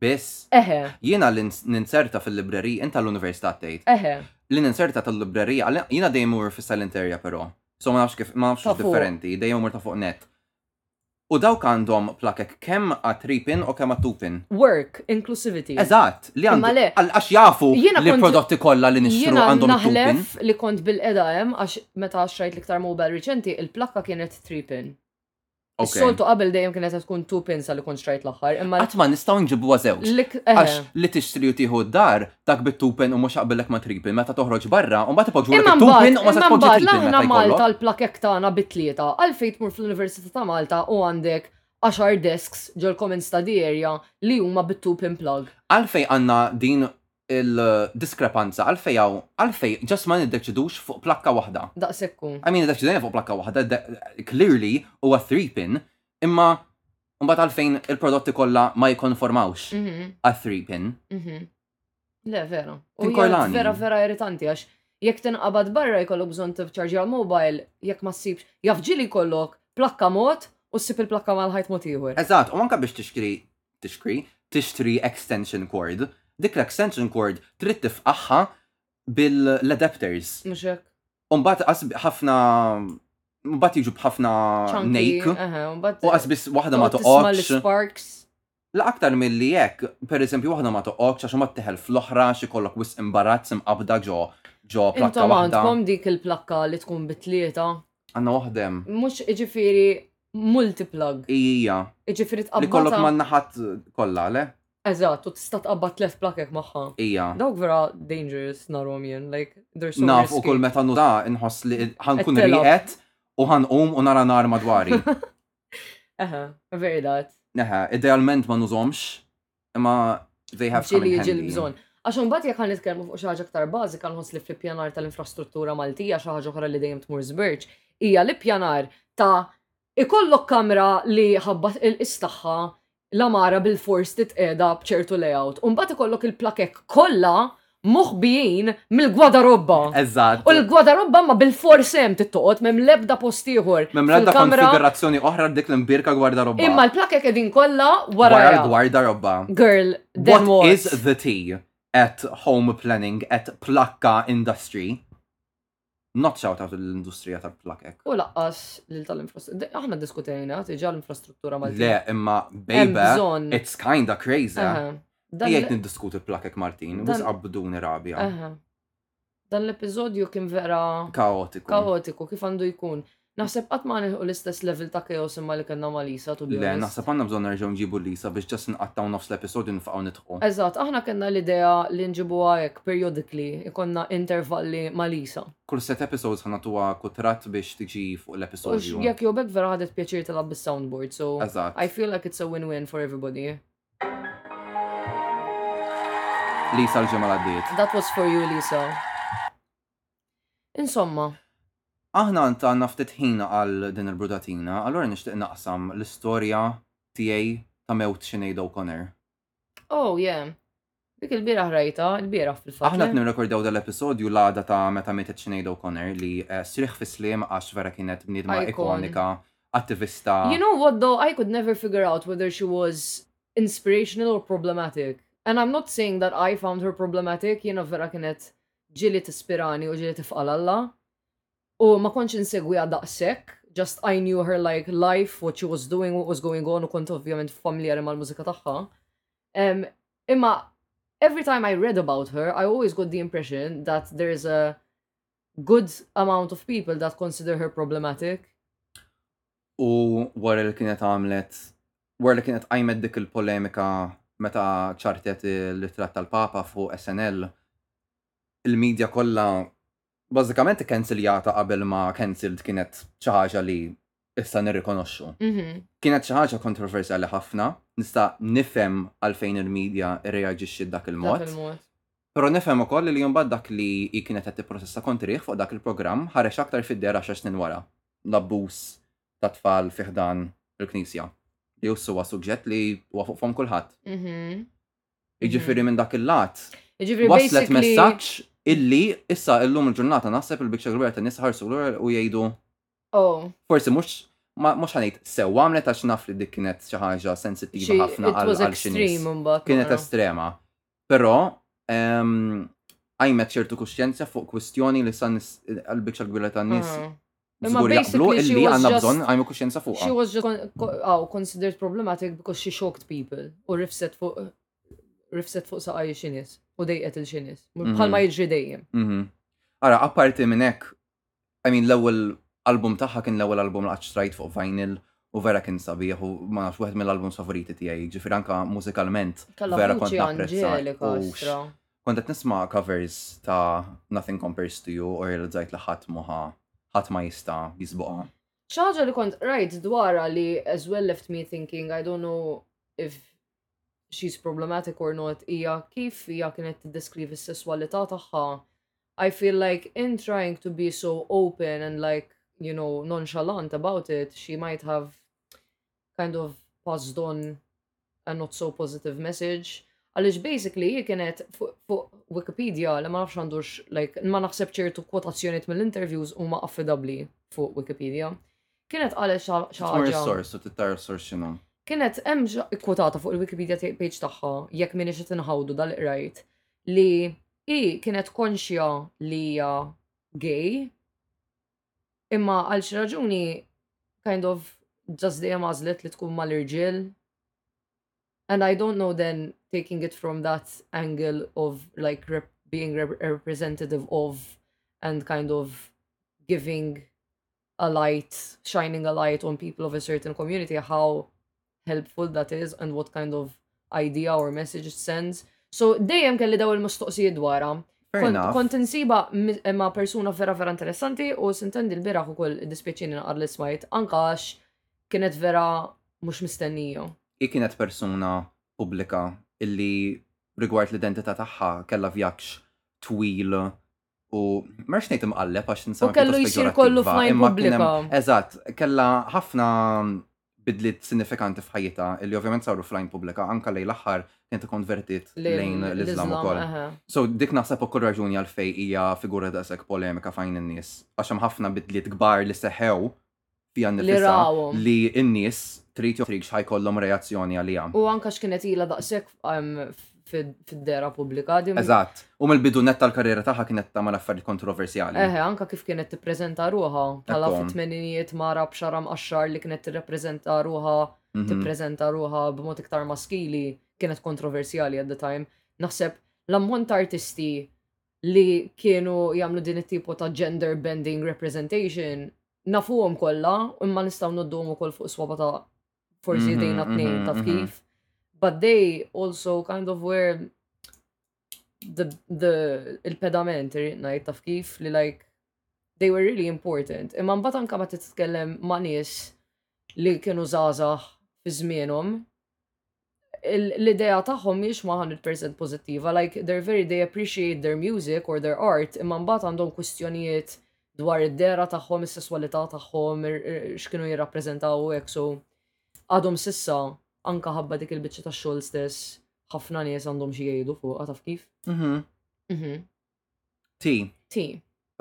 D: Biss,
C: Eħe,
D: jiena l-inserta fil-librerija, inta l-università tgħid.
C: eħe,
D: l-inserta tal-librerija, għalli- jina dejjem mur fi silent area però. So ma nafx kif, ma nafx
C: Ta'
D: kif
C: fuq.
D: differenti, dejjem mur ta' fuq net. U dawk għandhom plakek kemm għat 3 pin u kemm għat 2 pin.
C: work, inclusivity.
D: Eżatt, li
C: Imma le.
D: għandhom. Għax jafu
C: Jiena
D: li
C: kont-
D: prodotti kollha li nixtru
C: Jiena
D: għandhom 2 pin.
C: naħlef li kont bil-qeda hemm għax meta xrajt l-iktar mobile riċenti, il-plakka kienet 3 pin. Soltu
D: Ok.
C: qabel dejjem kienet qed tkun 2 pin sa li kont xrajt l-aħħar, imma
D: Għatma nistaw nġibu għazewġ.
C: l-ik
D: Għax li tixtri u tiħu d-dar, dak bit 2 pin u mux għabilek ma 3 pin, meta toħroġ barra, u ma tipoġu
C: Imma
D: l 2
C: mbagħad,
D: pin u ma
C: imma
D: tipoġu 3
C: mbagħad
D: pin.
C: l-aħna
D: meta
C: Malta
D: jkollok.
C: l-plakek tagħna bitlieta, għalfejn tmur fl-Università ta' Malta u għandek 10 desks ġol common study area li huma bit-two pin plug.
D: Għalfej għanna din il-diskrepanza, għalfej għaw, għalfej ġas ma niddeċidux fuq plakka wahda.
C: Daqsekku.
D: I mean, dak ġdejna fuq plakka waħda, da- clearly huwa 3-pin, imma mbagħad għalfejn il-prodotti kollha ma jkonformawx
C: Mhm,
D: għal 3-pin.
C: mhm. Le, vera. U
D: Tin
C: hija
D: Korlani.
C: vera, vera irritanti għax jekk tinqabad barra jkollok bżonn tivċarġi għal-mobile, jekk ma ssibx, jafġili jkollok plakka mod u ssib il-plakka mal-ħajt mod ieħor.
D: Eżatt, u anke biex tixkri, tixkri, tixtri extension cord, dik l-extension cord trid tifqaħħa bil-adapters.
C: Mhux hekk.
D: U mbagħad qasb ħafna mbagħad jiġu bħafna
C: Chunky, eh.
D: nejk.
C: eħe, u mbagħad-
D: Ah, U qas biss waħda ma
C: toqgħod tisma'
D: toqgħodx.
C: l-sparks.
D: La aktar mill-li jekk, per eżempju, waħda ma toqgħodx għax ma tteħel fl-oħra xi kollok wis imbarazz imqabda ġo ġo plakka
C: Intom
D: waħda.
C: għandkom dik il-plakka li tkun bitlieta,
D: Għanna waħdem.
C: mux iġifiri multiplug,
D: Ija,
C: iġifiri
D: li kollok
C: tqabbata.
D: manna ħadd kollha, le?
C: Eżat, u tista tqabba tlet plakek maħħa.
D: Ija.
C: Dawk vera dangerous narom jen, like, they're so
D: Naf u
C: risky.
D: kull meta nuda inħoss li ħankun
C: Qed telab.
D: riqet u ħanqum u nara nar madwari.
C: Eħe, very that.
D: Neħe, idealment ma nużomx, imma they have come
C: Ġili
D: in
C: jiġi
D: handy.
C: l-bżon. Għaxon bat jek għan nitkelmu fuq xaħġa ktar bazi, kan hos li fl-pjanar tal-infrastruttura maltija, xaħġa oħra li dejjem tmur zbirċ, hija li pjanar ta' ikollok kamra li ħabbat il-istaxħa la mara bil-fors titqeda bċertu layout. Umbat ikollok il-plakek kolla moħbijin mill-gwadarobba.
D: Eżatt.
C: U l-gwadarobba ma bil-fors hemm tittoqgħod m'hemm l-ebda postiħor.
D: Mem l-għadda konfigurazzjoni oħra dik l-imbirka gwarda robba.
C: Imma l-plakek edin kolla
D: wara
C: wara.
D: l-gwarda robba.
C: Girl, then what?
D: What is the tea? at home planning at plakka industry. Not shout out l-industrija tal-plakek.
C: U laqqas lil tal-infrastruttura. Aħna diskutejna, tiġa l-infrastruttura mal-tija.
D: Le, imma
C: bżonn.
D: baby, it's kinda crazy. Jgħid niddiskuti plakek Martin,
C: Dan- Eh.
D: wis qabbduni rabja.
C: Dan l-episodju kien vera
D: Kaotiku.
C: kaotiku, kif għandu jkun. Naħseb qatt ma nilħu l-istess level ta' chaos imma li kellna ma' Lisa, tu
D: Le, naħseb għandna bżonn nerġgħu nġibu Lisa biex ġas nqattaw nofs l-episodju nfaqgħu nitħu.
C: Eżat, aħna kellna l-idea li nġibu għajek periodically, ikonna intervalli ma' Lisa.
D: Kull set episodes ħanatuha kutrat biex tiġi
C: U
D: fuq l-episodju.
C: jekk jobek vera ħadet pjaċir tilab bis-soundboard, so
D: Eżatt.
C: I feel like it's a win-win for everybody.
D: Lisa l-ġimgħa għaddiet.
C: That was for you, Lisa. Insomma,
D: Aħna għanta ftit ħina għal din il-brudatina, allura nixtieq naqsam l-istorja tiegħi ta' mewt Sinead O'Connor.
C: oh yeah, dik il-bira ħrajta, il-bira fil-fatt.
D: Aħna
C: le?
D: qed nirrekordjaw dal-episodju l-għada ta' meta mietet Sinead O'Connor li eh, sriħ fislim għax vera kienet bniedma
C: Icon.
D: ikonika, attivista.
C: You know what though? I could never figure out whether she was inspirational or problematic. And I'm not saying that I found her problematic, jena vera kienet ġili tispirani u ġili tifqalalla. U ma konċ insegwi daqsek, just I knew her like life, what she was doing, what was going on, u kont ovvjament familjari mal-mużika tagħha. Um, imma every time I read about her, I always got the impression that there is a good amount of people that consider her problematic.
D: U wara li kienet għamlet, wara li kienet għajmet dik il-polemika meta ċartet il-ritrat tal-Papa fuq SNL, il-medja kollha bażikament kanziljata qabel ma kanzilt kienet xi ħaġa li issa nirrikonoxxu.
C: Mhm.
D: Kienet xi ħaġa kontroversjali ħafna, nista' nifhem għalfejn il-medja reaġixxi dak
C: Dak
D: il-mod.
C: il-mod.
D: Pero nifhem ukoll li jumba dak li hi kienet qed tipprocessa kontriħ fuq dak il-programm ħarex aktar fid-dera għaxar snin wara. L-abbuż ta' tfal fih dan il-Knisja. Li jussu huwa suġġett li huwa fuq fom kulħadd.
C: Mhm.
D: Jiġifieri minn dak il-lat
C: Ġifri, Jiġifieri
D: waslet
C: basically,
D: messaġġ illi issa illum il-ġurnata naħseb il-bikċa kbira ta' nies ħarsu lura u jgħidu
C: Oh,
D: forsi mhux ma mhux ħanejt sew għamlet għax naf li dik kienet xi ħaġa
C: she,
D: sensittiva
C: it
D: ħafna għal
C: was
D: għal xi nies.
C: extreme mbagħad.
D: kienet
C: wara.
D: estrema. Però, ehm, għajmet ċertu kuxjenza fuq kwistjoni li san għal-bikċa kbira ta' nis.
C: Aha. Hmm. Imma
D: Zgur jaqblu
C: basically she
D: illi
C: was
D: għanna
C: just-
D: bżon għajmu kuxjenza
C: Ah. She
D: fuq.
C: was just con- co- oh, considered problematic because she shocked people u rifset fuq rifset fuq saqaj xinis u dejqet il-xinis.
D: Mhm.
C: Bħal ma jiġri dejjem.
D: Ara, apparti minnek, I mean, l-ewel album taħħa kien l-ewel album li strajt fuq vinyl u vera kien sabiħ u ma nafx wieħed mill-albums favoriti tiegħi, ġifier anka mużikalment
C: Kalla
D: vera kont
C: vuċi anġelika,
D: napprezza.
C: stra.
D: U Kont qed nisma' covers ta' Nothing Compares to You u realizzajt li ħadd moħa ħadd ma jista' jisbuqha.
C: ċaġa li kont rajt dwara li as well left me thinking, I don't know if she's problematic or not, hija kif hija kienet tiddeskrivi s-sessualità tagħha. I feel like in trying to be so open and like, you know, nonchalant about it, she might have kind of passed on a not so positive message. Għalix basically hi kienet fuq fuq Wikipedia li ma nafx għandux, like, ma naħseb ċertu kwotazzjoniet mill-interviews huma affidabli fuq Wikipedia. Kienet għalet
D: Tmur
C: xaħġa.
D: is-sors, u tittar is-sors x'inhu.
C: Kienet hemm ġa- ikkwotata fuq il-Wikipedia ta- page tagħha jekk minni qed inħawdu dal-qrajt li i kienet konxja li hija gay imma għal xi raġuni kind of just dejjem għażlet li tkun mal-irġiel. And I don't know then taking it from that angle of like rep being rep- representative of and kind of giving a light, shining a light on people of a certain community, how helpful that is and what kind of idea or message it sends. So dejjem kelli daw il-mistoqsijiet dwara.
D: Fair
C: Kont-
D: enough.
C: Kont insiba mi- ma' persuna vera vera interessanti u sintendi l-biraħ u koll dispieċini naqar li smajt ankax kienet vera mux mistennija.
D: Hi kienet persuna pubblika illi rigward l-identità tagħha kellha vjakx twil u marx ngħid imqalleb għax
C: U
D: ninsama
C: kellu
D: pjuttost
C: jsir kollu
D: pejorattiva,
C: f'majn
D: imma kien hemm-
C: pubblika.
D: Eżatt, kellha ħafna bidliet sinifikanti f'ħajjita illi ovvjament saru f'lajn pubblika anka lejn l-aħħar kien konvertit lejn l-Islam ukoll. So dik naħseb ukoll raġuni għalfej hija figura daqshekk polemika fajn in-nies. Għax hemm ħafna bidliet kbar li seħew fija nifisa
C: rawhom.
D: li n-nies trid jow trid ħajkollhom reazzjoni għalija.
C: U anka x'kienet ila daqshekk um, f- fid-dera pubblika. din-
D: Eżatt. U mill-bidunet tal-karriera tagħha kienet tagħmel affarijiet kontroversjali.
C: Eħe, anka kif kienet tippreżenta ruħa. Pala
D: Ekkom.
C: fit-tmeninijiet mara b'xaram qaxxar li kienet tirrepreżenta ruħa,
D: Mhm.
C: tippreżenta ruħa b'mod iktar maskili, kienet kontroversjali at the time. Naħseb l-ammont ta' artisti li kienu jagħmlu din it-tipu ta' gender bending representation nafuhom kollha, imma nistgħu noddhom ukoll fuq swaba ta' forsi
D: Mhm,
C: dejna tnejn
D: mhm,
C: taf
D: mhm.
C: kif. But they also kind of were the the il-pedament irrid ngħid taf kif li like they were really important. Imma mbagħad anke ma titkellem ma' nies li kienu żgħażagħ fi żmienhom il- l-idea tagħhom mhix ma' 100% pożittiva, like they're very they appreciate their music or their art, imma mbagħad għandhom kwistjonijiet dwar id-dera tagħhom, is-sesswalità tagħhom, ir- ir- x'kienu jirrappreżentaw u hekk so għadhom sissa anka ħabba dik il-biċċa tax-xogħol stess ħafna nies għandhom xi jgħidu fuq taf kif.
D: Mhm.
C: Mhm.
D: Ti,
C: Ti.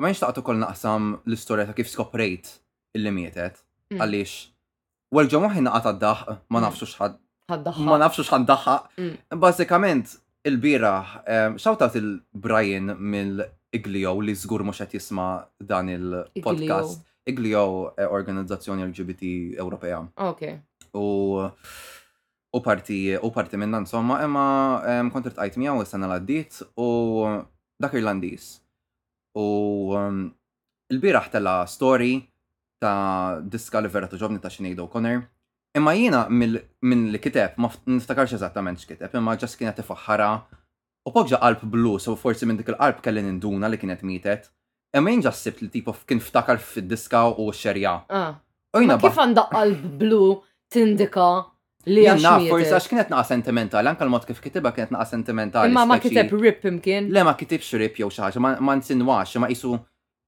D: ma nxtaqt ukoll naqsam l-istorja ta' kif skoprejt illi mietet.
C: Mm.
D: Għaliex, well ġo moħi naqat għaddaħ, ma nafxu xħad, ma
C: Ħaddaħħa.
D: nafxu xħad daħħa.
C: Mm.
D: Bazzikament, il-bira, xawtat il-Brian mill-Iglio li zgur mux għet jisma dan il-podcast. Iglio, eh, organizzazzjoni LGBT Ewropea.
C: Ok.
D: u u parti u parti minna insomma imma em, kont irtqajt miegħu is-sena l għaddiet u dak Irlandiż. U em, il-bieraħ tella story ta' diska li vera toġobni ta' Sinead O'Connor. Imma jiena mill- minn li kiteb, ma f- niftakarx eżattament x'kiteb, imma ġas kienet tifaħħara u poġġa qalb blu, so forsi minn dik il-qalb kelli ninduna li kienet mietet. Imma jien ġas sibt li tipo kien ftakar fid-diska u x-xerja.
C: Ah.
D: U jiena
C: Ma kif għandha qalb blu tindika li għax
D: Jenna, forse
C: mietet?
D: għax kienet naqa sentimentali, anka l-mod kif kitibha kienet naqa sentimentali.
C: Imma ma
D: speċi-
C: kiteb rip imkien.
D: Le ma kitibx rip jew xi ħaġa, ma- ma nsinwax, ma qisu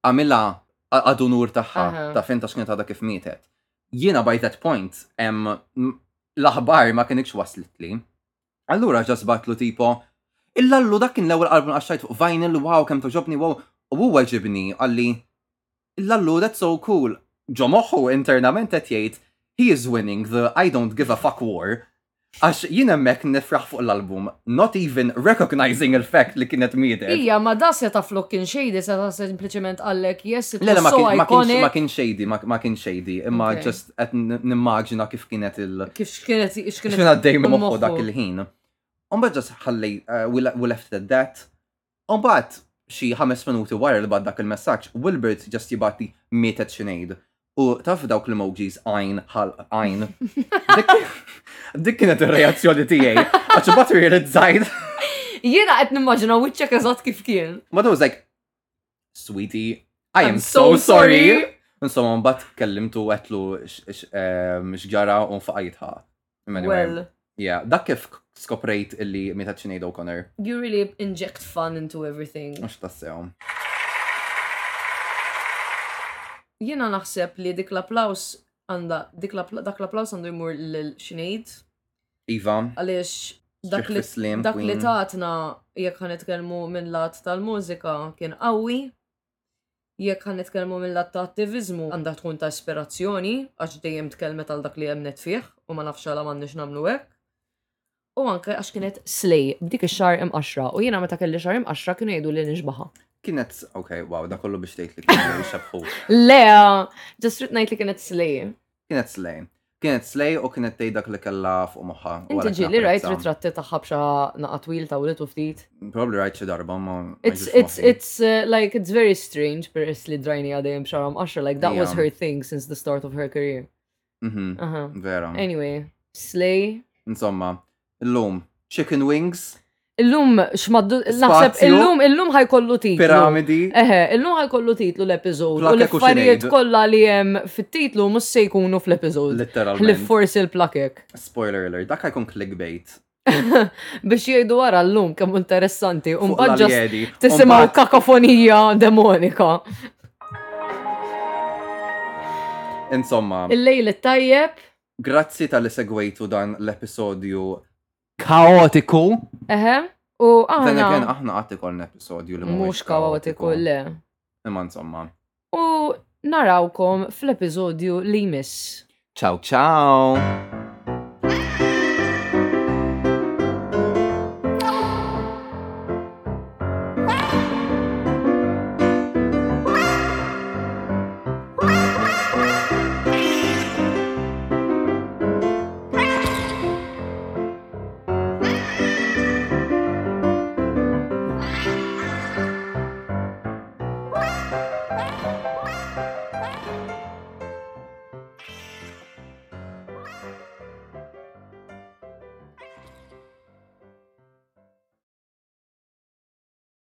D: għamilha għa- għad unur tagħha,
C: Aha.
D: ta' finta x'kienet għadha kif mietet. Jiena by that point, em, m- l-aħbar ma kienx waslitli. Allura ġasbatlu tipo, il-lallu dak kien l-ewwel album għaxxajt fuq vinyl, wow, kemm toġobni, wow, u huwa ġibni għalli il-lallu that's so cool. Ġo moħħu internament qed jgħid, he is winning the I don't give a fuck war. Għax jien hemmhekk nifraħ fuq l-album, not even recognizing il-fact li kienet mietet.
C: Ija, ma da se ta' flokkin xejdi, se ta' sempliciment għallek, yes, it
D: Le, le, ma
C: was so
D: kien- ma kienx ma
C: iconic.
D: kien shady, ma ma kien shady, imma
C: Okay.
D: just qed n- nimmaġina kif kienet il-
C: Kif xkienet, xkienet.
D: xkien għaddej minn moħħu dak il-ħin. Umbat just ħalli, uh, we le- we left it at that. Umbat xi ħames minuti wara li bad dak il-messaġġ, Wilbert just jibati mietet xinejdu. U taf dawk l-emojis għajn, ħal, għajn. Dik- Dik kienet ir-reazzjoni tiegħi. Għax bat realizzajt.
C: Jena għet nimmaġina wicċek eżat kif kien.
D: Mother was like, sweetie, I am
C: I'm
D: so
C: so
D: sorry.
C: sorry.
D: Insomma, mbatt kellimtu għetlu xġara u nfaqajtha.
C: Well,
D: Yeah, dak kif skoprejt illi meta ċinejda O'Connor.
C: you really inject fun into everything.
D: Mux tassew.
C: Jena naħseb li dik l-applaus għanda, dik l-appla- dak l-applaus għandu jmur l-xinejd,
D: Iva,
C: għalix dak
D: Striħ
C: li
D: fis-slim,
C: dak li
D: queen.
C: tatna jekk ħanitkellmu minn lat tal-mużika kien qawwi, jekk ħanitkellmu minn lat ta' attivizmu għandha tkun ta' ispirazzjoni għax dejjem tkellmet għal dak li hemmnet fih u ma nafx għala m'għandniex nagħmlu hekk. U anke għax kienet slej b'dik ix-xar imqaxra u jiena meta kelli xar imqaxra kienu jgħidu li nixbaħa.
D: kienet, ok, wow, da kollu biex tejt li kienet xabħu.
C: Le, ġest rid ngħid li kienet slej.
D: Kienet slej. Kienet slej u kienet tej dak li kella fuq moħħa.
C: Inti
D: u għalhekk
C: ġieli rajt
D: napprezza.
C: ritratti tagħha bxa naqa twil ta' ulit u ftit.
D: Probably rajt xi darba, ma. ma
C: It's it's
D: ġietx moħħi.
C: it's uh, like it's very strange peress li drajni għadajem xaram Asher like that was
D: Yeah.
C: her thing since the start of her career.
D: Mhm,
C: Uh -huh.
D: Vera.
C: Anyway, Slay.
D: Insomma, l-lum, chicken wings,
C: Illum xmaddu naħseb
D: Spazio.
C: illum illum ħajkollu titlu.
D: piramidi.
C: Eħe, illum ħajkollu titlu l-epiżod. U
D: Plakek u
C: l-affarijiet
D: xinejdu.
C: kollha li hemm fit-titlu mhux se jkunu fl-epiżod.
D: Literalment.
C: Li forsi l-plakek.
D: Spoiler alert, dak ħajkun clickbait.
C: Biex jgħidu wara llum kemm interessanti u
D: Fuq
C: mbagħad ġas
D: l-aljedi.
C: tisimgħu
D: Mbagħad-
C: kakofonija demonika.
D: Insomma,
C: Il-lejl it-tajjeb.
D: grazzi tal-li segwejtu dan l-episodju kaotiku.
C: Eħe. U
D: Dan again,
C: aħna.
D: aħna għatti kol episodju li
C: Ah, Mhux kaotiku, le.
D: Imma insomma.
C: U narawkom fl-episodju li jmiss.
D: Ciao ciao!